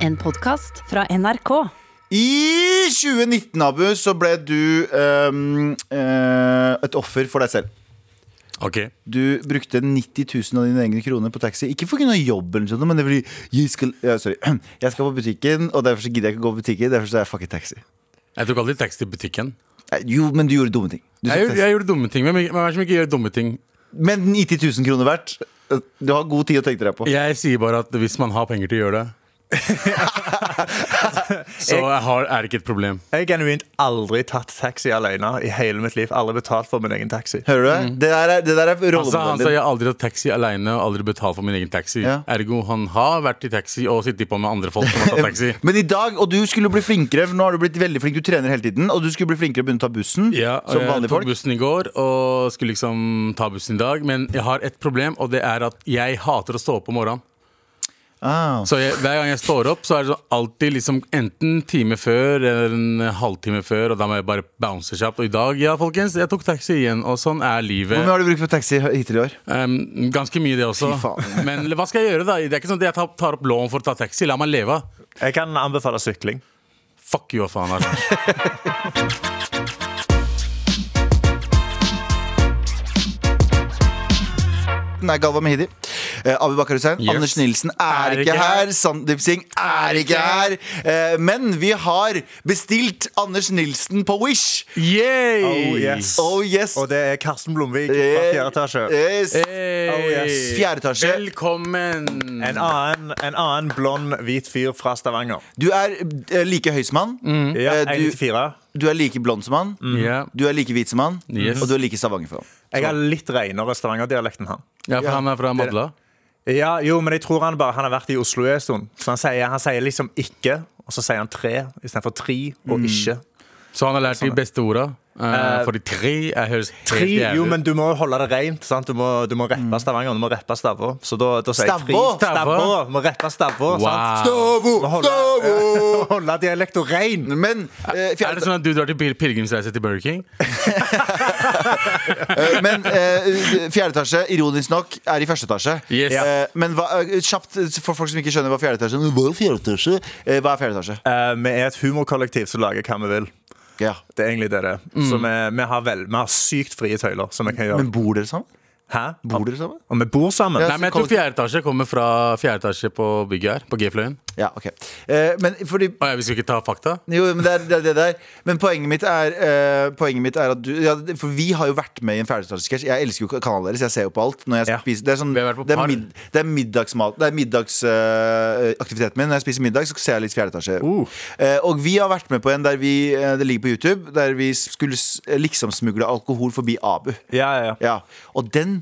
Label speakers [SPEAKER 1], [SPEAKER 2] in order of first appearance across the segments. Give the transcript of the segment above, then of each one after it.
[SPEAKER 1] En podkast fra NRK.
[SPEAKER 2] I 2019, Abu, så ble du ehm, eh, et offer for deg selv.
[SPEAKER 3] Ok
[SPEAKER 2] Du brukte 90 000 av dine egne kroner på taxi. Ikke pga. jobb, eller noe sånt, men det er fordi jeg skal, ja, sorry. jeg skal på butikken, og derfor så gidder jeg ikke gå på butikken. Derfor så er jeg fucking taxi.
[SPEAKER 3] Jeg tok aldri taxi i butikken.
[SPEAKER 2] Nei, Jo, men du gjorde dumme ting. Du
[SPEAKER 3] Jeg
[SPEAKER 2] tok
[SPEAKER 3] gjorde,
[SPEAKER 2] taxi.
[SPEAKER 3] jeg gjorde dumme ting. Hvem hvem er det som ikke gjør dumme ting?
[SPEAKER 2] Men 90 000 kroner verdt. eh, Du har god tid å tenke deg på.
[SPEAKER 3] Jeg sier bare at hvis man har penger til å gjøre det Så jeg har, er det ikke et problem.
[SPEAKER 4] Jeg har genuint aldri tatt taxi alene i hele mitt liv. Aldri betalt for min egen taxi.
[SPEAKER 2] Hører du det? Det der er, det der er
[SPEAKER 3] Han sa, Mm. Altså, han
[SPEAKER 2] rollemodellen
[SPEAKER 3] sa
[SPEAKER 2] din.
[SPEAKER 3] jeg har aldri tatt taxi aleine og aldri betalt for min egen taxi.
[SPEAKER 2] Ja.
[SPEAKER 3] Ergo han har vært i taxi og sittet på med andre folk som har tatt taxi.
[SPEAKER 2] Eh, Men i dag, og du skulle bli flinkere, for nå har du blitt veldig flink, du trener hele tiden, og du skulle bli flinkere og begynne å ta bussen
[SPEAKER 3] Ja, og
[SPEAKER 2] som
[SPEAKER 3] jeg
[SPEAKER 2] vanlige
[SPEAKER 3] tok
[SPEAKER 2] folk.
[SPEAKER 3] bussen i går og skulle liksom ta bussen i dag. Men jeg har et problem, og det er at jeg hater å stå opp om morgenen.
[SPEAKER 2] Ah.
[SPEAKER 3] Så jeg, hver gang jeg står opp, så er det sånn alltid liksom enten time før eller en halvtime før, og da må jeg bare bounce kjapt. Og i dag, ja, folkens, jeg tok taxi igjen, og sånn er
[SPEAKER 2] Hvor
[SPEAKER 3] livet.
[SPEAKER 2] mye har du brukt på taxi hittil i år?
[SPEAKER 3] Ehm, ganske mye, det også.
[SPEAKER 2] Fy faen.
[SPEAKER 3] Men hva skal jeg gjøre, da? Det er ikke sånn at jeg tar, tar opp lån for å ta taxi. La meg leve.
[SPEAKER 4] Jeg kan anbefale sykling.
[SPEAKER 3] Fuck you, hva faen. altså.
[SPEAKER 2] Oh,
[SPEAKER 3] Anders.
[SPEAKER 2] Nei, Galva Mehidi. Eh, Abu Bakar Hussein.
[SPEAKER 3] Yes.
[SPEAKER 2] Anders Nilsen er, ikke her. Sandeep Singh er ikke her. Eh, men vi har bestilt Anders Nilsen på Wish.
[SPEAKER 3] Yay!
[SPEAKER 2] Oh yes.
[SPEAKER 4] Og det er Karsten Blomvik fra
[SPEAKER 2] Eh,
[SPEAKER 4] fjerde etasje.
[SPEAKER 2] Yes.
[SPEAKER 3] Hey.
[SPEAKER 4] Oh, yes.
[SPEAKER 2] Fjerde etasje.
[SPEAKER 3] Velkommen.
[SPEAKER 4] En annen, en annen blond, hvit fyr fra Stavanger.
[SPEAKER 2] Du er eh, like høy som han.
[SPEAKER 4] Ja,
[SPEAKER 2] Eh, du-
[SPEAKER 4] 1-4.
[SPEAKER 2] Du er like blond som han.
[SPEAKER 3] Ja.
[SPEAKER 2] Du er like hvit som han.
[SPEAKER 3] Yes.
[SPEAKER 2] Og du er like stavanger for han.
[SPEAKER 4] Jeg har litt renere Stavanger-dialekt enn han.
[SPEAKER 3] ja, for han er fra Madla.
[SPEAKER 4] Ja, jo, men jeg tror han bare han har vært i Oslo en stund. Så han sier, han sier liksom ikke, og så sier han tre istedenfor tre og ikke.
[SPEAKER 3] Så han har lært de beste orda. Eh, for de tre jeg høres helt
[SPEAKER 4] Tre,
[SPEAKER 3] jævlig
[SPEAKER 4] jo,
[SPEAKER 3] ut.
[SPEAKER 4] men du må holde det rent. Sant? Du, må, du må rappe Stavanger. Du må rappe Stavå. Så da, da sier jeg tre.
[SPEAKER 2] Stavå?
[SPEAKER 4] Stavå! Du må rappe Stavå. sant?
[SPEAKER 2] Stavo,
[SPEAKER 4] Du må holde, holde dialekten ren.
[SPEAKER 2] Men eh,
[SPEAKER 3] Er
[SPEAKER 2] fjerde,
[SPEAKER 3] det sånn at du drar til pil- pilegrimsreise til Burger King?
[SPEAKER 2] eh, men, eh, fjerde etasje, ironisk nok, er i første etasje.
[SPEAKER 3] Yes.
[SPEAKER 2] Eh, men hva, eh, kjapt, for folk som ikke skjønner hva fjerde etasje er, hva er fjerde etasje? Eh, hva er fjerde etasje?
[SPEAKER 4] Eh, vi er et humorkollektiv som lager hva vi vil.
[SPEAKER 2] Ja.
[SPEAKER 4] Det er egentlig det det er. Så vi, vi, har vel, vi har sykt frie tøyler. Som vi kan gjøre.
[SPEAKER 2] Men bor dere sammen?
[SPEAKER 4] Hæ?
[SPEAKER 2] Bor dere sammen?
[SPEAKER 4] Og vi bor sammen.
[SPEAKER 2] Ja.
[SPEAKER 3] Nei, men jeg tror fjerde etasje kommer fra fjerde etasje på bygget her. På G-fløyen.
[SPEAKER 2] Ja, ok eh, Men fordi
[SPEAKER 3] Å ja, vi skal ikke ta fakta?
[SPEAKER 2] jo, men det er det, er det der. Men poenget mitt er, eh, poenget mitt er at du ja, det- For vi har jo vært med i en ferdigståelsesketsj. Jeg elsker jo kanalen deres. Jeg ser jo på alt. Når jeg
[SPEAKER 4] Ja.
[SPEAKER 2] spiser, det er sånn
[SPEAKER 3] Vi har vært på
[SPEAKER 2] Det er,
[SPEAKER 3] par.
[SPEAKER 2] mid, det er middagsmat Det er middagsaktiviteten min. Når jeg spiser middag, så ser jeg litt fjerde etasje.
[SPEAKER 3] Uh.
[SPEAKER 2] Eh, og vi har vært med på en der vi eh, Det ligger på YouTube. Der vi skulle s- liksom smugle alkohol forbi Abu.
[SPEAKER 4] Ja, ja, ja.
[SPEAKER 2] Ja. Og den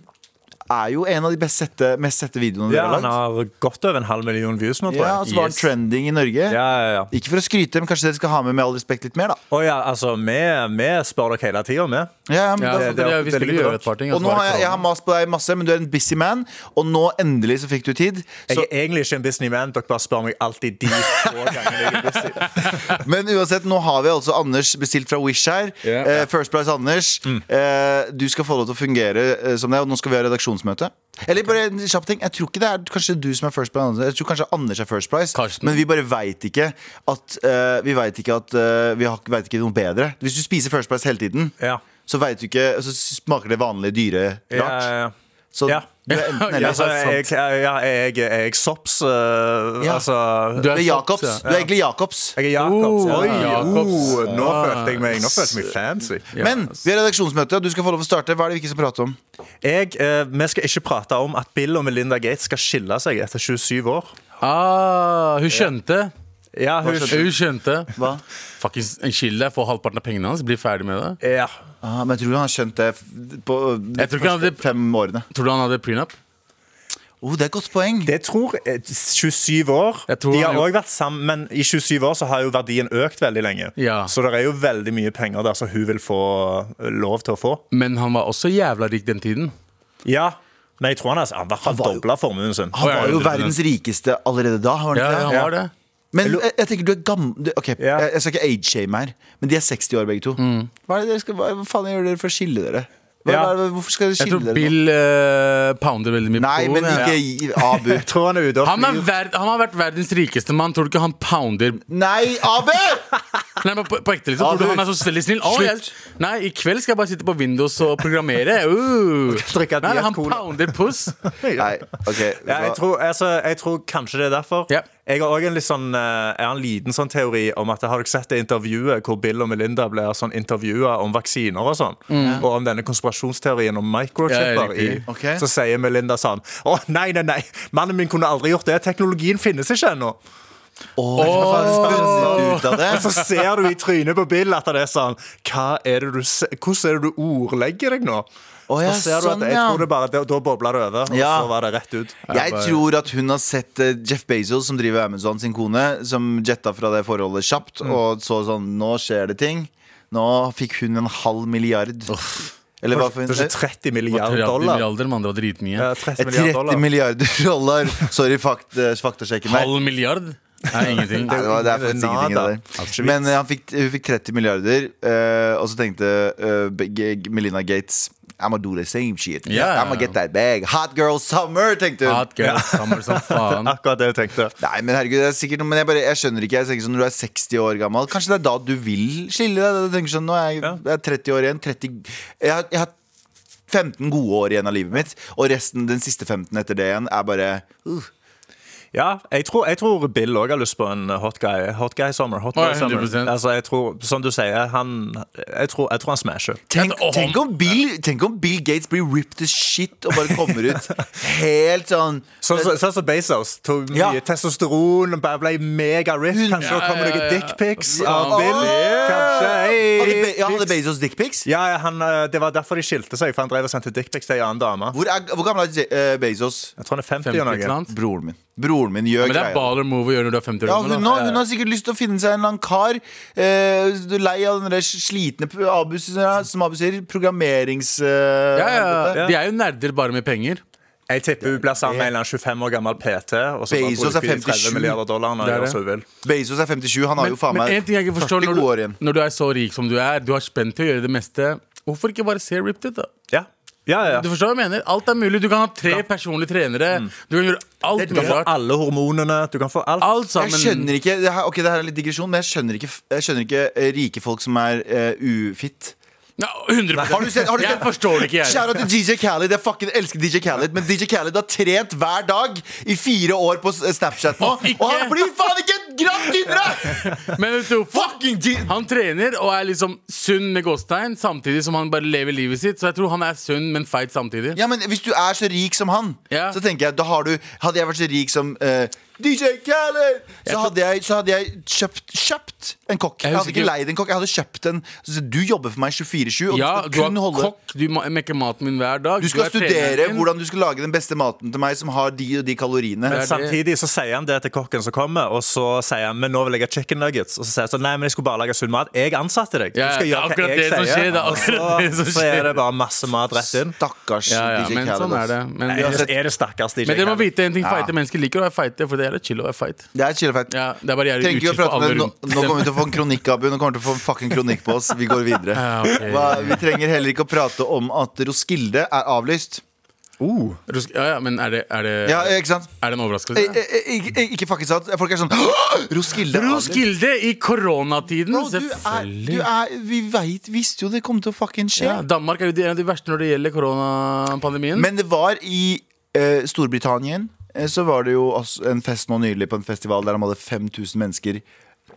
[SPEAKER 2] er jo en av de best sette, mest sette videoene
[SPEAKER 4] Ja,
[SPEAKER 2] dere har
[SPEAKER 4] han
[SPEAKER 2] lagd.
[SPEAKER 4] har godt over en halv million views nå, tror jeg.
[SPEAKER 2] Ja, og så var den
[SPEAKER 3] Yes.
[SPEAKER 2] trending i Norge.
[SPEAKER 4] Ja, ja, ja.
[SPEAKER 2] Ikke for å skryte, men kanskje dere skal ha med med all respekt litt mer, da.
[SPEAKER 4] Å ja, altså, vi, vi spør dere hele tida, vi.
[SPEAKER 2] Ja, ja, men
[SPEAKER 3] Ja,
[SPEAKER 2] da
[SPEAKER 3] det, det,
[SPEAKER 4] det-
[SPEAKER 3] vi
[SPEAKER 4] det
[SPEAKER 3] skulle
[SPEAKER 4] ligger
[SPEAKER 3] gjøre
[SPEAKER 4] bak.
[SPEAKER 3] et par ting.
[SPEAKER 2] og
[SPEAKER 3] og så
[SPEAKER 2] nå
[SPEAKER 3] var
[SPEAKER 2] har
[SPEAKER 3] det
[SPEAKER 2] jeg, jeg har
[SPEAKER 3] korona.
[SPEAKER 2] mast på deg masse, men du er en busy man. Og nå endelig så fikk du tid.
[SPEAKER 4] Jeg
[SPEAKER 2] Så,
[SPEAKER 4] er egentlig ikke en businessman. Dere bare spør meg alltid de få gangene jeg er busy.
[SPEAKER 2] men uansett, nå har vi altså Anders bestilt fra Wish her.
[SPEAKER 3] Ja. Mm.
[SPEAKER 2] Eh, First Price Anders. Eh, du skal få lov til å fungere eh, som det, og nå skal vi ha redaksjonsmøte. Eller bare en kjapp ting. Jeg tror ikke det er kanskje du som er First Price. Anders. Jeg tror kanskje Anders er First Price.
[SPEAKER 3] Karsten.
[SPEAKER 2] Men vi bare veit ikke at eh, Vi vet ikke at eh, Vi har- vet ikke noe bedre. Hvis du spiser First Price hele tiden,
[SPEAKER 4] Ja.
[SPEAKER 2] så vet du ikke Så smaker det vanlige dyre
[SPEAKER 4] Ja,
[SPEAKER 2] rart.
[SPEAKER 4] ja, ja.
[SPEAKER 2] Så
[SPEAKER 4] Ja.
[SPEAKER 2] du er enten eller.
[SPEAKER 4] Ja, altså, jeg,
[SPEAKER 3] sant.
[SPEAKER 4] ja, jeg, jeg er sops. øh,
[SPEAKER 2] Ja.
[SPEAKER 4] Altså
[SPEAKER 3] Du
[SPEAKER 2] Du er Jacobs.
[SPEAKER 3] ja.
[SPEAKER 2] Du er egentlig Jacobs.
[SPEAKER 4] Jeg er Jacobs.
[SPEAKER 3] Oh,
[SPEAKER 4] Oi,
[SPEAKER 3] Jacobs.
[SPEAKER 4] oh, nå
[SPEAKER 3] Ah.
[SPEAKER 4] følte jeg meg Nå følte jeg meg fancy.
[SPEAKER 3] Ja.
[SPEAKER 2] Men vi har redaksjonsmøte, og du skal få lov å starte. Hva er det vi ikke skal prate om?
[SPEAKER 4] Jeg, eh, vi skal ikke prate om at Bill og Melinda Gates skal skille seg etter 27 år.
[SPEAKER 3] ah, Hun skjønte.
[SPEAKER 4] Ja, hun,
[SPEAKER 3] Hun skjønte.
[SPEAKER 2] Hva?
[SPEAKER 3] Fuckings en chill deg, få halvparten av pengene hans, bli ferdig med det.
[SPEAKER 4] ja.
[SPEAKER 2] Ah, men jeg tror han har skjønt det f- på eh, de
[SPEAKER 3] Jeg tror ikke han
[SPEAKER 2] første
[SPEAKER 3] hadde-
[SPEAKER 2] fem årene.
[SPEAKER 3] Tror du han hadde prenup?
[SPEAKER 2] Oh, det er et godt poeng.
[SPEAKER 4] Det tror jeg 27 år.
[SPEAKER 3] Jeg tror
[SPEAKER 4] De har
[SPEAKER 3] han jo-
[SPEAKER 4] også vært sammen, men i 27 år så har jo verdien økt veldig lenge.
[SPEAKER 3] Ja.
[SPEAKER 4] Så det er jo veldig mye penger der som hun vil få eh, lov til å få.
[SPEAKER 3] Men han var også jævla rik den tiden.
[SPEAKER 4] Ja, men jeg tror han har i hvert fall
[SPEAKER 2] var jo-
[SPEAKER 4] dobla formuen sin.
[SPEAKER 2] Han var jo
[SPEAKER 3] Ja, ja, ja.
[SPEAKER 2] verdens rikeste allerede da. Var han
[SPEAKER 3] Ja,
[SPEAKER 2] ikke
[SPEAKER 3] han
[SPEAKER 2] det?
[SPEAKER 3] var det.
[SPEAKER 2] Men jeg, jeg tenker du er gammel du, Ok,
[SPEAKER 4] Ja.
[SPEAKER 3] Mm.
[SPEAKER 2] jeg, jeg skal ikke age-shame her, men de er 60 år begge to. Hva, er det dere skal, hva faen gjør dere for å skille dere? Hva,
[SPEAKER 4] Ja.
[SPEAKER 2] hva- hvorfor skal dere
[SPEAKER 3] Jeg
[SPEAKER 2] skille
[SPEAKER 3] tror
[SPEAKER 2] dere? nå?
[SPEAKER 3] Bill eh, pounder veldig mye
[SPEAKER 2] Nei,
[SPEAKER 3] på
[SPEAKER 2] men
[SPEAKER 3] den, ja.
[SPEAKER 2] ikke i- Abu.
[SPEAKER 4] Jeg tror han er ute og
[SPEAKER 3] han, er
[SPEAKER 4] flyr.
[SPEAKER 3] verd, han har vært verdens rikeste mann. Tror du ikke han pounder
[SPEAKER 2] Nei, Abu!
[SPEAKER 3] Nei, men på, på ekte liksom Tror du
[SPEAKER 2] Abu,
[SPEAKER 3] han er så veldig snill? Å, jeg, nei, i kveld skal jeg bare sitte på Windows og programmere. Uh.
[SPEAKER 4] drikke
[SPEAKER 3] Nei,
[SPEAKER 4] Diet
[SPEAKER 3] han
[SPEAKER 4] Cola.
[SPEAKER 3] pounder puss.
[SPEAKER 2] Nei, ok. vet du
[SPEAKER 4] Ja, jeg,
[SPEAKER 2] hva?
[SPEAKER 4] tror, altså, jeg tror kanskje det er derfor.
[SPEAKER 3] Ja.
[SPEAKER 4] Jeg har også en litt sånn, eh, jeg har en liten sånn teori om at Har dere sett det intervjuet hvor Bill og Melinda blir sånn intervjua om vaksiner og sånn? Og om denne konspirasjonsteorien om
[SPEAKER 3] Ja,
[SPEAKER 4] microchipper. i,
[SPEAKER 3] riktig.
[SPEAKER 2] Mm. Ok.
[SPEAKER 4] Så sier Melinda sånn Å nei, nei, nei! Mannen min kunne aldri gjort det! Teknologien finnes ikke ennå!
[SPEAKER 2] Åh, hva fant du ut av
[SPEAKER 4] Men så
[SPEAKER 2] det?
[SPEAKER 4] ser du i trynet på Bill at det er sånn Hva er det du se- Hvordan er det du ordlegger deg nå?
[SPEAKER 2] Å, ja,
[SPEAKER 4] så ser du
[SPEAKER 2] sånn,
[SPEAKER 4] at jeg
[SPEAKER 2] ja.
[SPEAKER 4] tror det bare, Da bobler det over, og
[SPEAKER 2] Ja.
[SPEAKER 4] så var det rett ut.
[SPEAKER 2] Jeg tror at hun har sett eh, Jeff Bezos, som driver Amazon sin kone, som jetta fra det forholdet kjapt,
[SPEAKER 3] Mm.
[SPEAKER 2] og så sånn Nå skjer det ting. Nå fikk hun en halv milliard. Eller hva for
[SPEAKER 4] Det er ikke 30 milliarder dollar.
[SPEAKER 3] Milliarder, mann, det var dritmye.
[SPEAKER 4] Ja, 30 milliarder
[SPEAKER 2] 30
[SPEAKER 4] dollar.
[SPEAKER 2] Eh, milliarder dollar. Sorry, fakt, eh, faktasjekken her.
[SPEAKER 3] Halv milliard? Nei, ingenting.
[SPEAKER 2] Nei, det, var, det er faktisk ingenting i
[SPEAKER 4] Nada.
[SPEAKER 2] det der. Men eh, han fikk, hun fikk 30 milliarder, eh, og så tenkte eh, Be- G- Melina Gates I'm gonna do the same shit.
[SPEAKER 3] Ja.
[SPEAKER 2] I'm gonna get that bag. Hot girl summer, tenkte hun.
[SPEAKER 3] Hot girl, summer som faen.
[SPEAKER 4] Akkurat det jeg tenkte.
[SPEAKER 2] Nei, men herregud, det er sikkert noe Men jeg, bare, jeg skjønner ikke. Jeg tenker sånn, Når du er 60 år gammel, kanskje det er da du vil skille deg? Du tenker sånn, Nå er jeg, jeg er 30 år igjen. 30, jeg, har- jeg har 15 gode år igjen av livet mitt, og resten, den siste 15 etter det igjen, er bare uh,
[SPEAKER 4] Ja, jeg tror, jeg tror Bill òg har lyst på en hot guy. Hot guy summer. Hot
[SPEAKER 3] Å,
[SPEAKER 4] boy
[SPEAKER 3] ja,
[SPEAKER 4] summer.
[SPEAKER 3] 100%.
[SPEAKER 4] Altså, jeg tror, som du sier, han Jeg tror, jeg tror han smasher.
[SPEAKER 2] Tenk,
[SPEAKER 3] At- og
[SPEAKER 2] tenk,
[SPEAKER 3] han-
[SPEAKER 2] om Bill, tenk om Bill Gates blir ripped to shit og bare kommer ut helt sånn
[SPEAKER 4] Sånn som sånn som Bezos. Tok mye
[SPEAKER 2] Ja.
[SPEAKER 4] testosteron, bare ble mega-riff.
[SPEAKER 2] Hun-
[SPEAKER 4] Kanskje
[SPEAKER 3] Ja,
[SPEAKER 4] det kommer
[SPEAKER 3] ja, ja.
[SPEAKER 4] noen dickpics
[SPEAKER 3] Ja.
[SPEAKER 4] av Bill.
[SPEAKER 2] Åh!
[SPEAKER 4] Kanskje.
[SPEAKER 2] Hadde,
[SPEAKER 4] Hey.
[SPEAKER 2] Be ja, hadde Bezos dickpics?
[SPEAKER 4] Ja, ja, han, eh, Det var derfor de skilte seg, for han drev og sendte dickpics til ei annen dame.
[SPEAKER 2] Hvor, er- hvor gammel er Je- eh, Bezos?
[SPEAKER 4] Jeg tror han er 50
[SPEAKER 3] 50
[SPEAKER 4] og
[SPEAKER 3] ikke
[SPEAKER 4] noe.
[SPEAKER 3] sant?
[SPEAKER 2] Broren min. Broren min gjør
[SPEAKER 3] Men det er
[SPEAKER 2] greia.
[SPEAKER 3] baller move å gjøre når du er 50 år
[SPEAKER 2] Ja, hun,
[SPEAKER 3] gammel.
[SPEAKER 2] nå,
[SPEAKER 3] da.
[SPEAKER 2] hun har sikkert lyst til å finne seg en eller annen kar. Eh, du er lei av den der slitne p- Abus, som Abu sier, programmerings... Eh,
[SPEAKER 3] Ja,
[SPEAKER 2] helvete.
[SPEAKER 3] ja, De er jo nerder bare med penger.
[SPEAKER 4] Jeg tipper hun blir sammen med en eller annen 25 år gammel PT. Og så
[SPEAKER 2] Bezos
[SPEAKER 4] Bezos
[SPEAKER 2] er
[SPEAKER 4] er
[SPEAKER 2] 57.
[SPEAKER 4] 30 milliarder dollar når
[SPEAKER 3] Det er
[SPEAKER 4] jeg
[SPEAKER 3] det.
[SPEAKER 4] gjør som hun vil.
[SPEAKER 2] Bezos er 57, han har jo faen
[SPEAKER 3] men
[SPEAKER 2] meg
[SPEAKER 3] en ting jeg ikke forstår
[SPEAKER 2] 40
[SPEAKER 3] når
[SPEAKER 2] gode år
[SPEAKER 3] du,
[SPEAKER 2] igjen.
[SPEAKER 3] når du er så rik som du er, du har spent til å gjøre det meste, hvorfor ikke bare se ripped ut, da?
[SPEAKER 4] Ja, ja, ja.
[SPEAKER 3] Du forstår hva jeg mener? Alt er mulig. Du kan ha tre personlige trenere.
[SPEAKER 2] Mm.
[SPEAKER 3] Du kan gjøre alt
[SPEAKER 4] Du kan
[SPEAKER 3] mulig
[SPEAKER 4] få
[SPEAKER 3] rart.
[SPEAKER 4] alle hormonene, du kan få alt.
[SPEAKER 3] Alt sammen.
[SPEAKER 2] Jeg skjønner ikke det her, Ok, det her er litt digresjon, men jeg skjønner ikke, f- jeg skjønner ikke eh, rike folk som er eh, ufitt.
[SPEAKER 3] Ja, 100
[SPEAKER 2] Har du sett- har du sett-
[SPEAKER 3] Jeg forstår det ikke, jeg.
[SPEAKER 2] Shout out til DJ Khaled. Jeg fucking elsker DJ Khaled, men DJ Khaled har trent hver dag i fire år på s- Snapchat nå,
[SPEAKER 3] Og ikke-
[SPEAKER 2] og han blir faen ikke et gram tynnere!
[SPEAKER 3] Men vet du, fucking G- han trener og er liksom sunn med gåstein, samtidig som han bare lever livet sitt. Så jeg tror han er sunn, men feit samtidig.
[SPEAKER 2] Ja, men Hvis du er så rik som han,
[SPEAKER 3] Ja.
[SPEAKER 2] så tenker jeg da har du Hadde jeg vært så rik som eh, DJ Khaled, så hadde jeg, så hadde jeg kjøpt, kjøpt en kokk. Jeg,
[SPEAKER 3] husker
[SPEAKER 2] hadde ikke
[SPEAKER 3] ikke-
[SPEAKER 2] leid en kokk, jeg hadde kjøpt en så Du jobber for meg 24-7, og
[SPEAKER 3] Ja,
[SPEAKER 2] du
[SPEAKER 3] du
[SPEAKER 2] skal
[SPEAKER 3] er
[SPEAKER 2] kun holde
[SPEAKER 3] kokk, du ma- mekker maten min hver dag.
[SPEAKER 2] Du skal
[SPEAKER 3] er treneren
[SPEAKER 2] studere
[SPEAKER 3] min.
[SPEAKER 2] hvordan du skal lage den beste maten til meg som har de og de kaloriene.
[SPEAKER 3] Men
[SPEAKER 4] Men
[SPEAKER 3] det-
[SPEAKER 4] samtidig så sier han det til kokken som kommer, og så sier han men nå vil jeg ha chicken nuggets. Og så sier han sånn, nei, men jeg skulle bare lage sunn mat. Jeg ansatte deg. Du
[SPEAKER 3] Ja,
[SPEAKER 4] skal
[SPEAKER 3] det er
[SPEAKER 4] gjøre hva
[SPEAKER 3] akkurat
[SPEAKER 4] jeg
[SPEAKER 3] det som
[SPEAKER 4] sier.
[SPEAKER 3] skjer, det er
[SPEAKER 4] Og
[SPEAKER 3] akkurat det som
[SPEAKER 4] så, så
[SPEAKER 3] skjer.
[SPEAKER 4] er det bare masse mat rett inn.
[SPEAKER 2] Stakkars
[SPEAKER 3] Ja, ja,
[SPEAKER 2] DJ
[SPEAKER 3] men
[SPEAKER 2] Khaled.
[SPEAKER 3] sånn er det.
[SPEAKER 2] ass.
[SPEAKER 3] Men,
[SPEAKER 4] Nei, det er det stakkars DJ
[SPEAKER 3] men dere må
[SPEAKER 4] Khaled.
[SPEAKER 3] vite en ting feite mennesker liker å være feite, for det er litt chill å være feit.
[SPEAKER 2] Det er chillefeit.
[SPEAKER 3] Ja, det er bare jeg
[SPEAKER 2] Trenger ikke å
[SPEAKER 3] utskilt for
[SPEAKER 2] prate om
[SPEAKER 3] alle
[SPEAKER 2] det. Nå,
[SPEAKER 3] rundt.
[SPEAKER 2] nå kommer vi til å få en kronikk, Abu. Nå kommer vi til å få en fucking kronikk på oss. Vi går videre.
[SPEAKER 3] Ja, ok.
[SPEAKER 2] Hva, vi trenger heller ikke å prate om at Roskilde er avlyst.
[SPEAKER 3] Rosk- Ja, ja, men er det, er det,
[SPEAKER 2] Ja, ikke sant?
[SPEAKER 3] er det en overraskelse?
[SPEAKER 2] Eh, eh, Ikke, eh, ikke fucking sant. Folk er sånn «Åh! Roskilde! er avlyst!»
[SPEAKER 3] Roskilde i koronatiden,
[SPEAKER 2] Bro, du er,
[SPEAKER 3] selvfølgelig.
[SPEAKER 2] du er, vi veit, visste jo det kom til å fucking skje.
[SPEAKER 3] ja, Danmark er jo de- en av de verste når det gjelder koronapandemien.
[SPEAKER 2] Men det var i eh, Storbritannien eh, Så var det jo også en fest nå nylig på en festival Der de hadde 5000 mennesker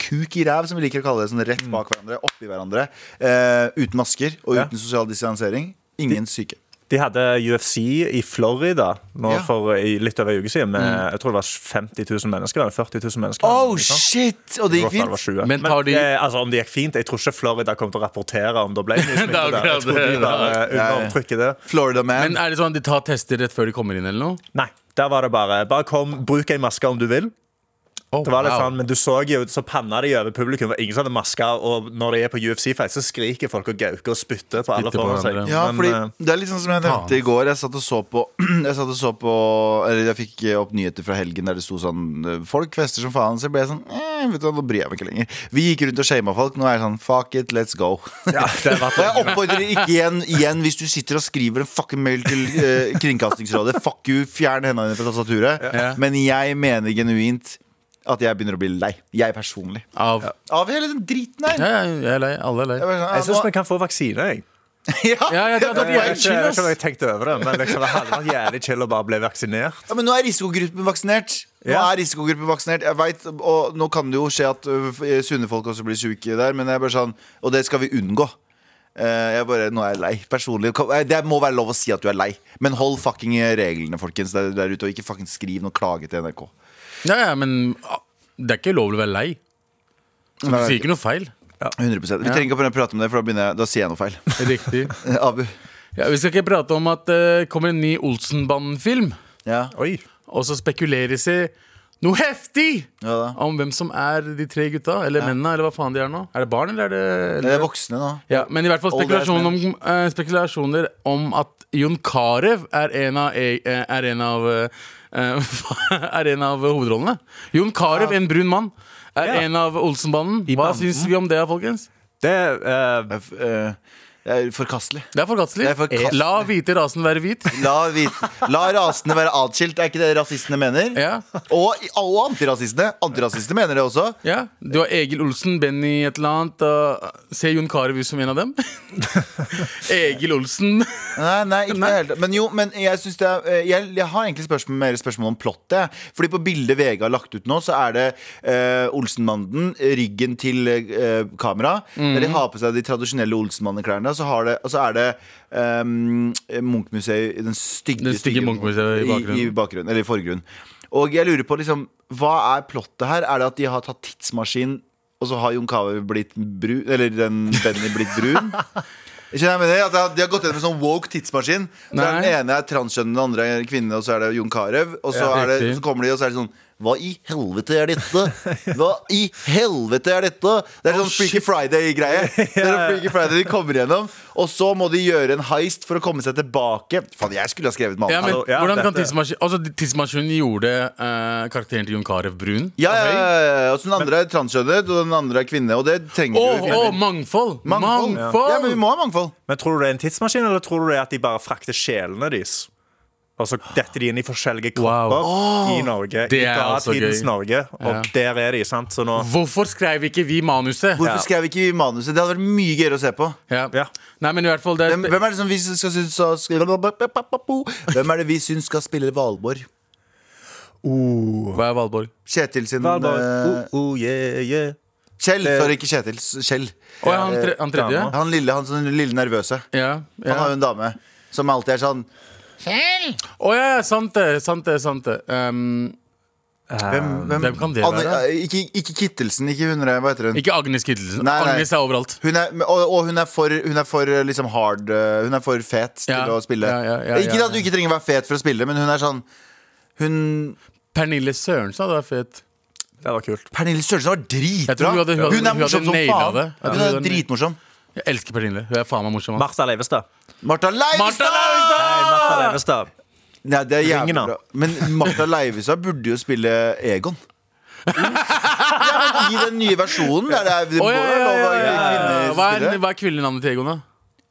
[SPEAKER 2] Kuk i ræv, som vi liker å kalle det Sånn rett bak hverandre, oppi hverandre eh, Uten masker og
[SPEAKER 4] Ja.
[SPEAKER 2] uten sosial distansering Ingen syke
[SPEAKER 4] De hadde UFC i Florida nå
[SPEAKER 2] Ja.
[SPEAKER 4] for i litt over en uke siden med
[SPEAKER 3] Mm.
[SPEAKER 4] jeg tror det var 50 000 mennesker. eller 40 000 mennesker.
[SPEAKER 2] Oh
[SPEAKER 4] Ikke sant?
[SPEAKER 2] shit, og det
[SPEAKER 4] Jeg
[SPEAKER 2] gikk
[SPEAKER 4] tror det var
[SPEAKER 2] fint
[SPEAKER 4] 20.
[SPEAKER 3] Men tar de-
[SPEAKER 4] eh, altså, om det gikk fint Jeg tror ikke Florida kommer til å rapportere om det ble mye smitte
[SPEAKER 3] er
[SPEAKER 4] der. Jeg
[SPEAKER 3] akkurat
[SPEAKER 4] tror de
[SPEAKER 3] det.
[SPEAKER 4] bare eh,
[SPEAKER 2] ja.
[SPEAKER 4] undertrykker det.
[SPEAKER 2] Florida man
[SPEAKER 3] Men er det sånn at de tar tester rett før de kommer inn, eller noe?
[SPEAKER 4] Nei, der var det bare Bare kom, bruk ei maske om du vil.
[SPEAKER 3] Oh,
[SPEAKER 4] Det var litt sånn, men du så jo så panna de over publikum. Det var ingen som hadde masker. Og når de er på UFC-fight, så skriker folk og gauker og spytter på alle
[SPEAKER 3] Spytter på
[SPEAKER 4] foran seg.
[SPEAKER 3] hverandre.
[SPEAKER 2] ja,
[SPEAKER 4] Men,
[SPEAKER 2] fordi
[SPEAKER 4] eh,
[SPEAKER 2] det er litt sånn som jeg nevnte i går Jeg satt og så på Jeg, satt og så på, eller jeg fikk opp nyheter fra helgen Der det sto sånn eh, Folk fester som faen Så ble jeg sånn eh, vet du, hva, nå bryr jeg meg ikke lenger. Vi gikk rundt og shama folk. Nå er jeg sånn fuck it, let's go.
[SPEAKER 4] eh, det var-
[SPEAKER 2] og jeg oppfordrer ikke igjen, igjen hvis du sitter og skriver en fucking mail til eh, Kringkastingsrådet. Fuck you, fjern hendene dine fra tastaturet.
[SPEAKER 3] Ja.
[SPEAKER 2] Men jeg mener genuint at jeg begynner å bli lei. Jeg personlig.
[SPEAKER 3] Av ja.
[SPEAKER 2] Av hele den driten her.
[SPEAKER 3] ja, jeg er lei. Alle er lei.
[SPEAKER 2] Jeg bare sånn,
[SPEAKER 4] Jeg syns
[SPEAKER 2] nå-
[SPEAKER 4] vi kan få vaksine, jeg.
[SPEAKER 3] Ja, ja, det hadde vært
[SPEAKER 4] Jeg vet
[SPEAKER 3] jævlig
[SPEAKER 4] ikke jeg
[SPEAKER 3] chill,
[SPEAKER 4] vet ikke om
[SPEAKER 3] ass.
[SPEAKER 4] jeg tenkte over det, men liksom, det hadde vært jævlig chill å bare bli vaksinert.
[SPEAKER 2] Ja, men nå er risikogruppen vaksinert. Nå
[SPEAKER 4] Ja.
[SPEAKER 2] er risikogruppen vaksinert Jeg vet, og Nå kan det jo skje at ø, f- sunne folk også blir syke der, men jeg er bare sånn og det skal vi unngå. Eh, Jeg bare, Nå er jeg lei. Personlig. Kom- eh, Det må være lov å si at du er lei, men hold fucking reglene, folkens, der, der ute. Og ikke fucking skriv noe klage til NRK. sånn-
[SPEAKER 3] Ja, ja, men ah, det er ikke lov å være lei. Du
[SPEAKER 2] Nei,
[SPEAKER 3] sier ikke noe feil.
[SPEAKER 2] 100% Vi trenger ikke å prøve å prate om det, for da, begynner jeg, da sier jeg noe feil.
[SPEAKER 3] Riktig.
[SPEAKER 2] Abu.
[SPEAKER 3] Ja, vi skal ikke prate om at det kommer en ny Olsenbanden-film,
[SPEAKER 2] Ja.
[SPEAKER 4] Oi.
[SPEAKER 3] og så spekuleres det noe heftig
[SPEAKER 2] ja da.
[SPEAKER 3] om hvem som er de tre gutta, eller mennene, eller hva faen de er nå. Er det barn, eller er det
[SPEAKER 2] Det
[SPEAKER 3] eller?
[SPEAKER 2] er Eh, voksne nå.
[SPEAKER 3] Ja, men i hvert fall
[SPEAKER 2] Old ass
[SPEAKER 3] spekulasjoner om, eh, spekulasjoner om at Jon Carew er en av, eh, er en av eh, Er en av hovedrollene. Jon Carew, en brun mann, er
[SPEAKER 4] Ja.
[SPEAKER 3] en av Olsenbanden. Hva
[SPEAKER 4] banden.
[SPEAKER 3] syns vi om det, folkens?
[SPEAKER 4] Det eh,
[SPEAKER 2] Det er f- eh, Det er forkastelig.
[SPEAKER 3] Det er forkastelig.
[SPEAKER 2] Det er forkastelig.
[SPEAKER 3] La hvite rasen være hvit.
[SPEAKER 2] La, vit- la rasene være atskilt, er ikke det rasistene mener?
[SPEAKER 3] Ja.
[SPEAKER 2] Og, og antirasistene. Antirasistene mener det også.
[SPEAKER 3] Ja, Du har Egil Olsen, Benny et eller annet. Og ser Jon Carew ut som en av dem? Egil Olsen.
[SPEAKER 2] Nei, nei, ikke det hele tatt. Men jo, men jeg syns det er eh, jeg, jeg har egentlig spørsmål, mer spørsmål om plottet. jeg. Fordi på bildet VG har lagt ut nå, så er det eh, Olsenmannen, ryggen til eh, kamera.
[SPEAKER 3] Mm.
[SPEAKER 2] Der de har på seg de tradisjonelle Olsenmannen-klærne. og så har det- Og så er det um, Munch-museet i den stygge,
[SPEAKER 3] Den stygge Munch-museet i bakgrunnen.
[SPEAKER 2] I, i bakgrunnen. Eller i forgrunnen. Og jeg lurer på, liksom, hva er plottet her? Er det at de har tatt tidsmaskin, og så har Jon Carew blitt brun? Eller den Benny blitt brun? Skjønner jeg mener at jeg- De har gått gjennom en sånn woke tidsmaskin. Så er
[SPEAKER 3] Nei.
[SPEAKER 2] Den ene er transkjønn, den andre er kvinne, og så er det Jon Carew. Og så,
[SPEAKER 3] Ja,
[SPEAKER 2] er det,
[SPEAKER 3] riktig.
[SPEAKER 2] så kommer de, og så er det sånn Hva i helvete er dette? Hva i helvete er dette? Det er sånn Freaky Friday-greie. Det er sånn Freaky Friday De kommer gjennom, og så må de gjøre en heist for å komme seg tilbake. Faen, jeg skulle ha skrevet med
[SPEAKER 3] Ja,
[SPEAKER 2] alle.
[SPEAKER 3] men
[SPEAKER 4] Hallo, ja,
[SPEAKER 3] hvordan kan
[SPEAKER 4] dette-
[SPEAKER 3] tidsmaskinen Altså, tidsmaskinen gjorde eh, karakteren til Jon Carew brun.
[SPEAKER 2] Ja, ja, ja, ja. Og så den andre er transkjønnet, og den andre er kvinne. Og det trenger
[SPEAKER 3] Å,
[SPEAKER 2] du i filmer.
[SPEAKER 3] å, mangfold! Mangfold!
[SPEAKER 2] Ja, men vi må ha mangfold.
[SPEAKER 4] men tror du det er en tidsmaskin, eller tror du det er at de bare frakter sjelene deres? Og så detter de inn i forskjellige
[SPEAKER 3] Wow.
[SPEAKER 4] kropper i Norge.
[SPEAKER 3] Det
[SPEAKER 4] I
[SPEAKER 3] er også
[SPEAKER 4] datidens
[SPEAKER 3] gøy.
[SPEAKER 4] Norge. Og der er de, sant? Så
[SPEAKER 2] Mm,
[SPEAKER 4] nå
[SPEAKER 3] Hvorfor skrev ikke vi manuset?
[SPEAKER 2] Hvorfor
[SPEAKER 4] Ja.
[SPEAKER 2] skrev ikke vi manuset? Det hadde vært mye gøyere å se på.
[SPEAKER 3] Ja.
[SPEAKER 4] Ja.
[SPEAKER 3] Nei, men i hvert fall det er
[SPEAKER 2] Hvem, hvem er det som vi skal synes skal- skal- Hvem er det vi syns skal spille Valborg?
[SPEAKER 3] Hva er Valborg?
[SPEAKER 2] Kjetil sin eh,
[SPEAKER 4] Valborg. Oh, oh, yeah, yeah.
[SPEAKER 2] Kjell, sorry, ikke Kjetil. s- Kjell.
[SPEAKER 3] Å, Eh. ja, han, tre, han tredje?
[SPEAKER 4] dama.
[SPEAKER 2] Han lille, han sånn lille nervøse.
[SPEAKER 3] Ja.
[SPEAKER 2] Han har jo
[SPEAKER 3] ja.
[SPEAKER 2] en dame som alltid er sånn
[SPEAKER 3] Å ja, ja, sant det, sant det, sant det. Um,
[SPEAKER 2] Hvem, hvem,
[SPEAKER 3] Hvem kan det
[SPEAKER 2] Anne-
[SPEAKER 3] være?
[SPEAKER 2] eh, ikke, ikke Kittelsen, ikke hun der, hva heter hun?
[SPEAKER 3] ikke Agnes Kittelsen.
[SPEAKER 2] Nei, nei.
[SPEAKER 3] Agnes er overalt.
[SPEAKER 2] Hun er, og, og hun er for, hun er for eh, liksom hard eh, Hun er for fet til
[SPEAKER 3] Ja,
[SPEAKER 2] å spille.
[SPEAKER 3] ja, ja, ja,
[SPEAKER 2] ikke
[SPEAKER 3] ja,
[SPEAKER 2] at du
[SPEAKER 3] ja.
[SPEAKER 2] ikke trenger å være fet for å spille, men hun er sånn Hun
[SPEAKER 3] Pernille Sørensen hadde vært fet.
[SPEAKER 4] Det var kult.
[SPEAKER 2] Pernille Sørensen var
[SPEAKER 3] Jeg tror
[SPEAKER 2] dritbra!
[SPEAKER 3] hun hadde- hun hadde- hun
[SPEAKER 2] Hun
[SPEAKER 3] hadde
[SPEAKER 2] er morsom som
[SPEAKER 3] naila
[SPEAKER 2] faen!
[SPEAKER 3] det. Ja,
[SPEAKER 2] Hun
[SPEAKER 3] hun
[SPEAKER 2] er
[SPEAKER 3] hadde-
[SPEAKER 2] dritmorsom.
[SPEAKER 3] Jeg elsker Pernille. Hun er faen meg morsom. ass.
[SPEAKER 4] Martha Leivestad.
[SPEAKER 2] Martha
[SPEAKER 3] Martha
[SPEAKER 2] Leivestad!
[SPEAKER 3] Leivestad!
[SPEAKER 4] Nei, Martha
[SPEAKER 2] Ah!
[SPEAKER 4] Leivestad.
[SPEAKER 2] Nei, det er jævlig
[SPEAKER 4] Ringen, da.
[SPEAKER 2] bra. Men Martha Leivestad burde jo spille Egon. ja, men I den nye versjonen der det er det
[SPEAKER 3] Å,
[SPEAKER 2] må
[SPEAKER 3] ja,
[SPEAKER 2] være
[SPEAKER 3] ja,
[SPEAKER 2] lov å
[SPEAKER 3] ja, ja,
[SPEAKER 2] kvinner
[SPEAKER 3] ja. Hva er,
[SPEAKER 2] spille.
[SPEAKER 3] hva er kvinnenavnet til Egon, da?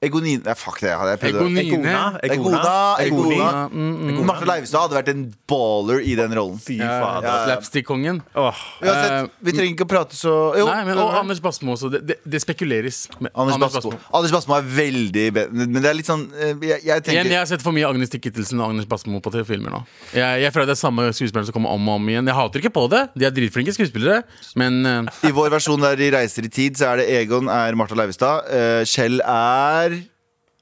[SPEAKER 2] Egonine Nei, fuck det. hadde Jeg prøvd
[SPEAKER 3] Egonine.
[SPEAKER 4] Egona.
[SPEAKER 2] Egona. Egona.
[SPEAKER 4] Egona.
[SPEAKER 3] Mm,
[SPEAKER 2] Martha Leivestad hadde vært en baller i den rollen.
[SPEAKER 4] Fy
[SPEAKER 3] Ja,
[SPEAKER 4] fader.
[SPEAKER 2] ja.
[SPEAKER 3] Slapstick-kongen.
[SPEAKER 4] Åh.
[SPEAKER 2] Uansett, vi trenger ikke å prate så jo,
[SPEAKER 3] Eh, Nei, men
[SPEAKER 2] jo,
[SPEAKER 3] og Anders Basmo også. Det, det, det spekuleres. med
[SPEAKER 2] Anders Basmo. Anders Basmo er veldig be- Men det er litt sånn eh, Jeg, jeg
[SPEAKER 3] Igjen,
[SPEAKER 2] tenker
[SPEAKER 3] jeg har sett for mye Agnes Kittelsen og Agnes Basmo på TV filmer nå. Jeg, jeg føler det er samme skuespilleren som kommer om og om igjen. Jeg hater ikke på det. De er dritflinke skuespillere, men eh,
[SPEAKER 2] I vår versjon der de reiser i tid, så er det Egon er Martha Leivestad. eh, Kjell er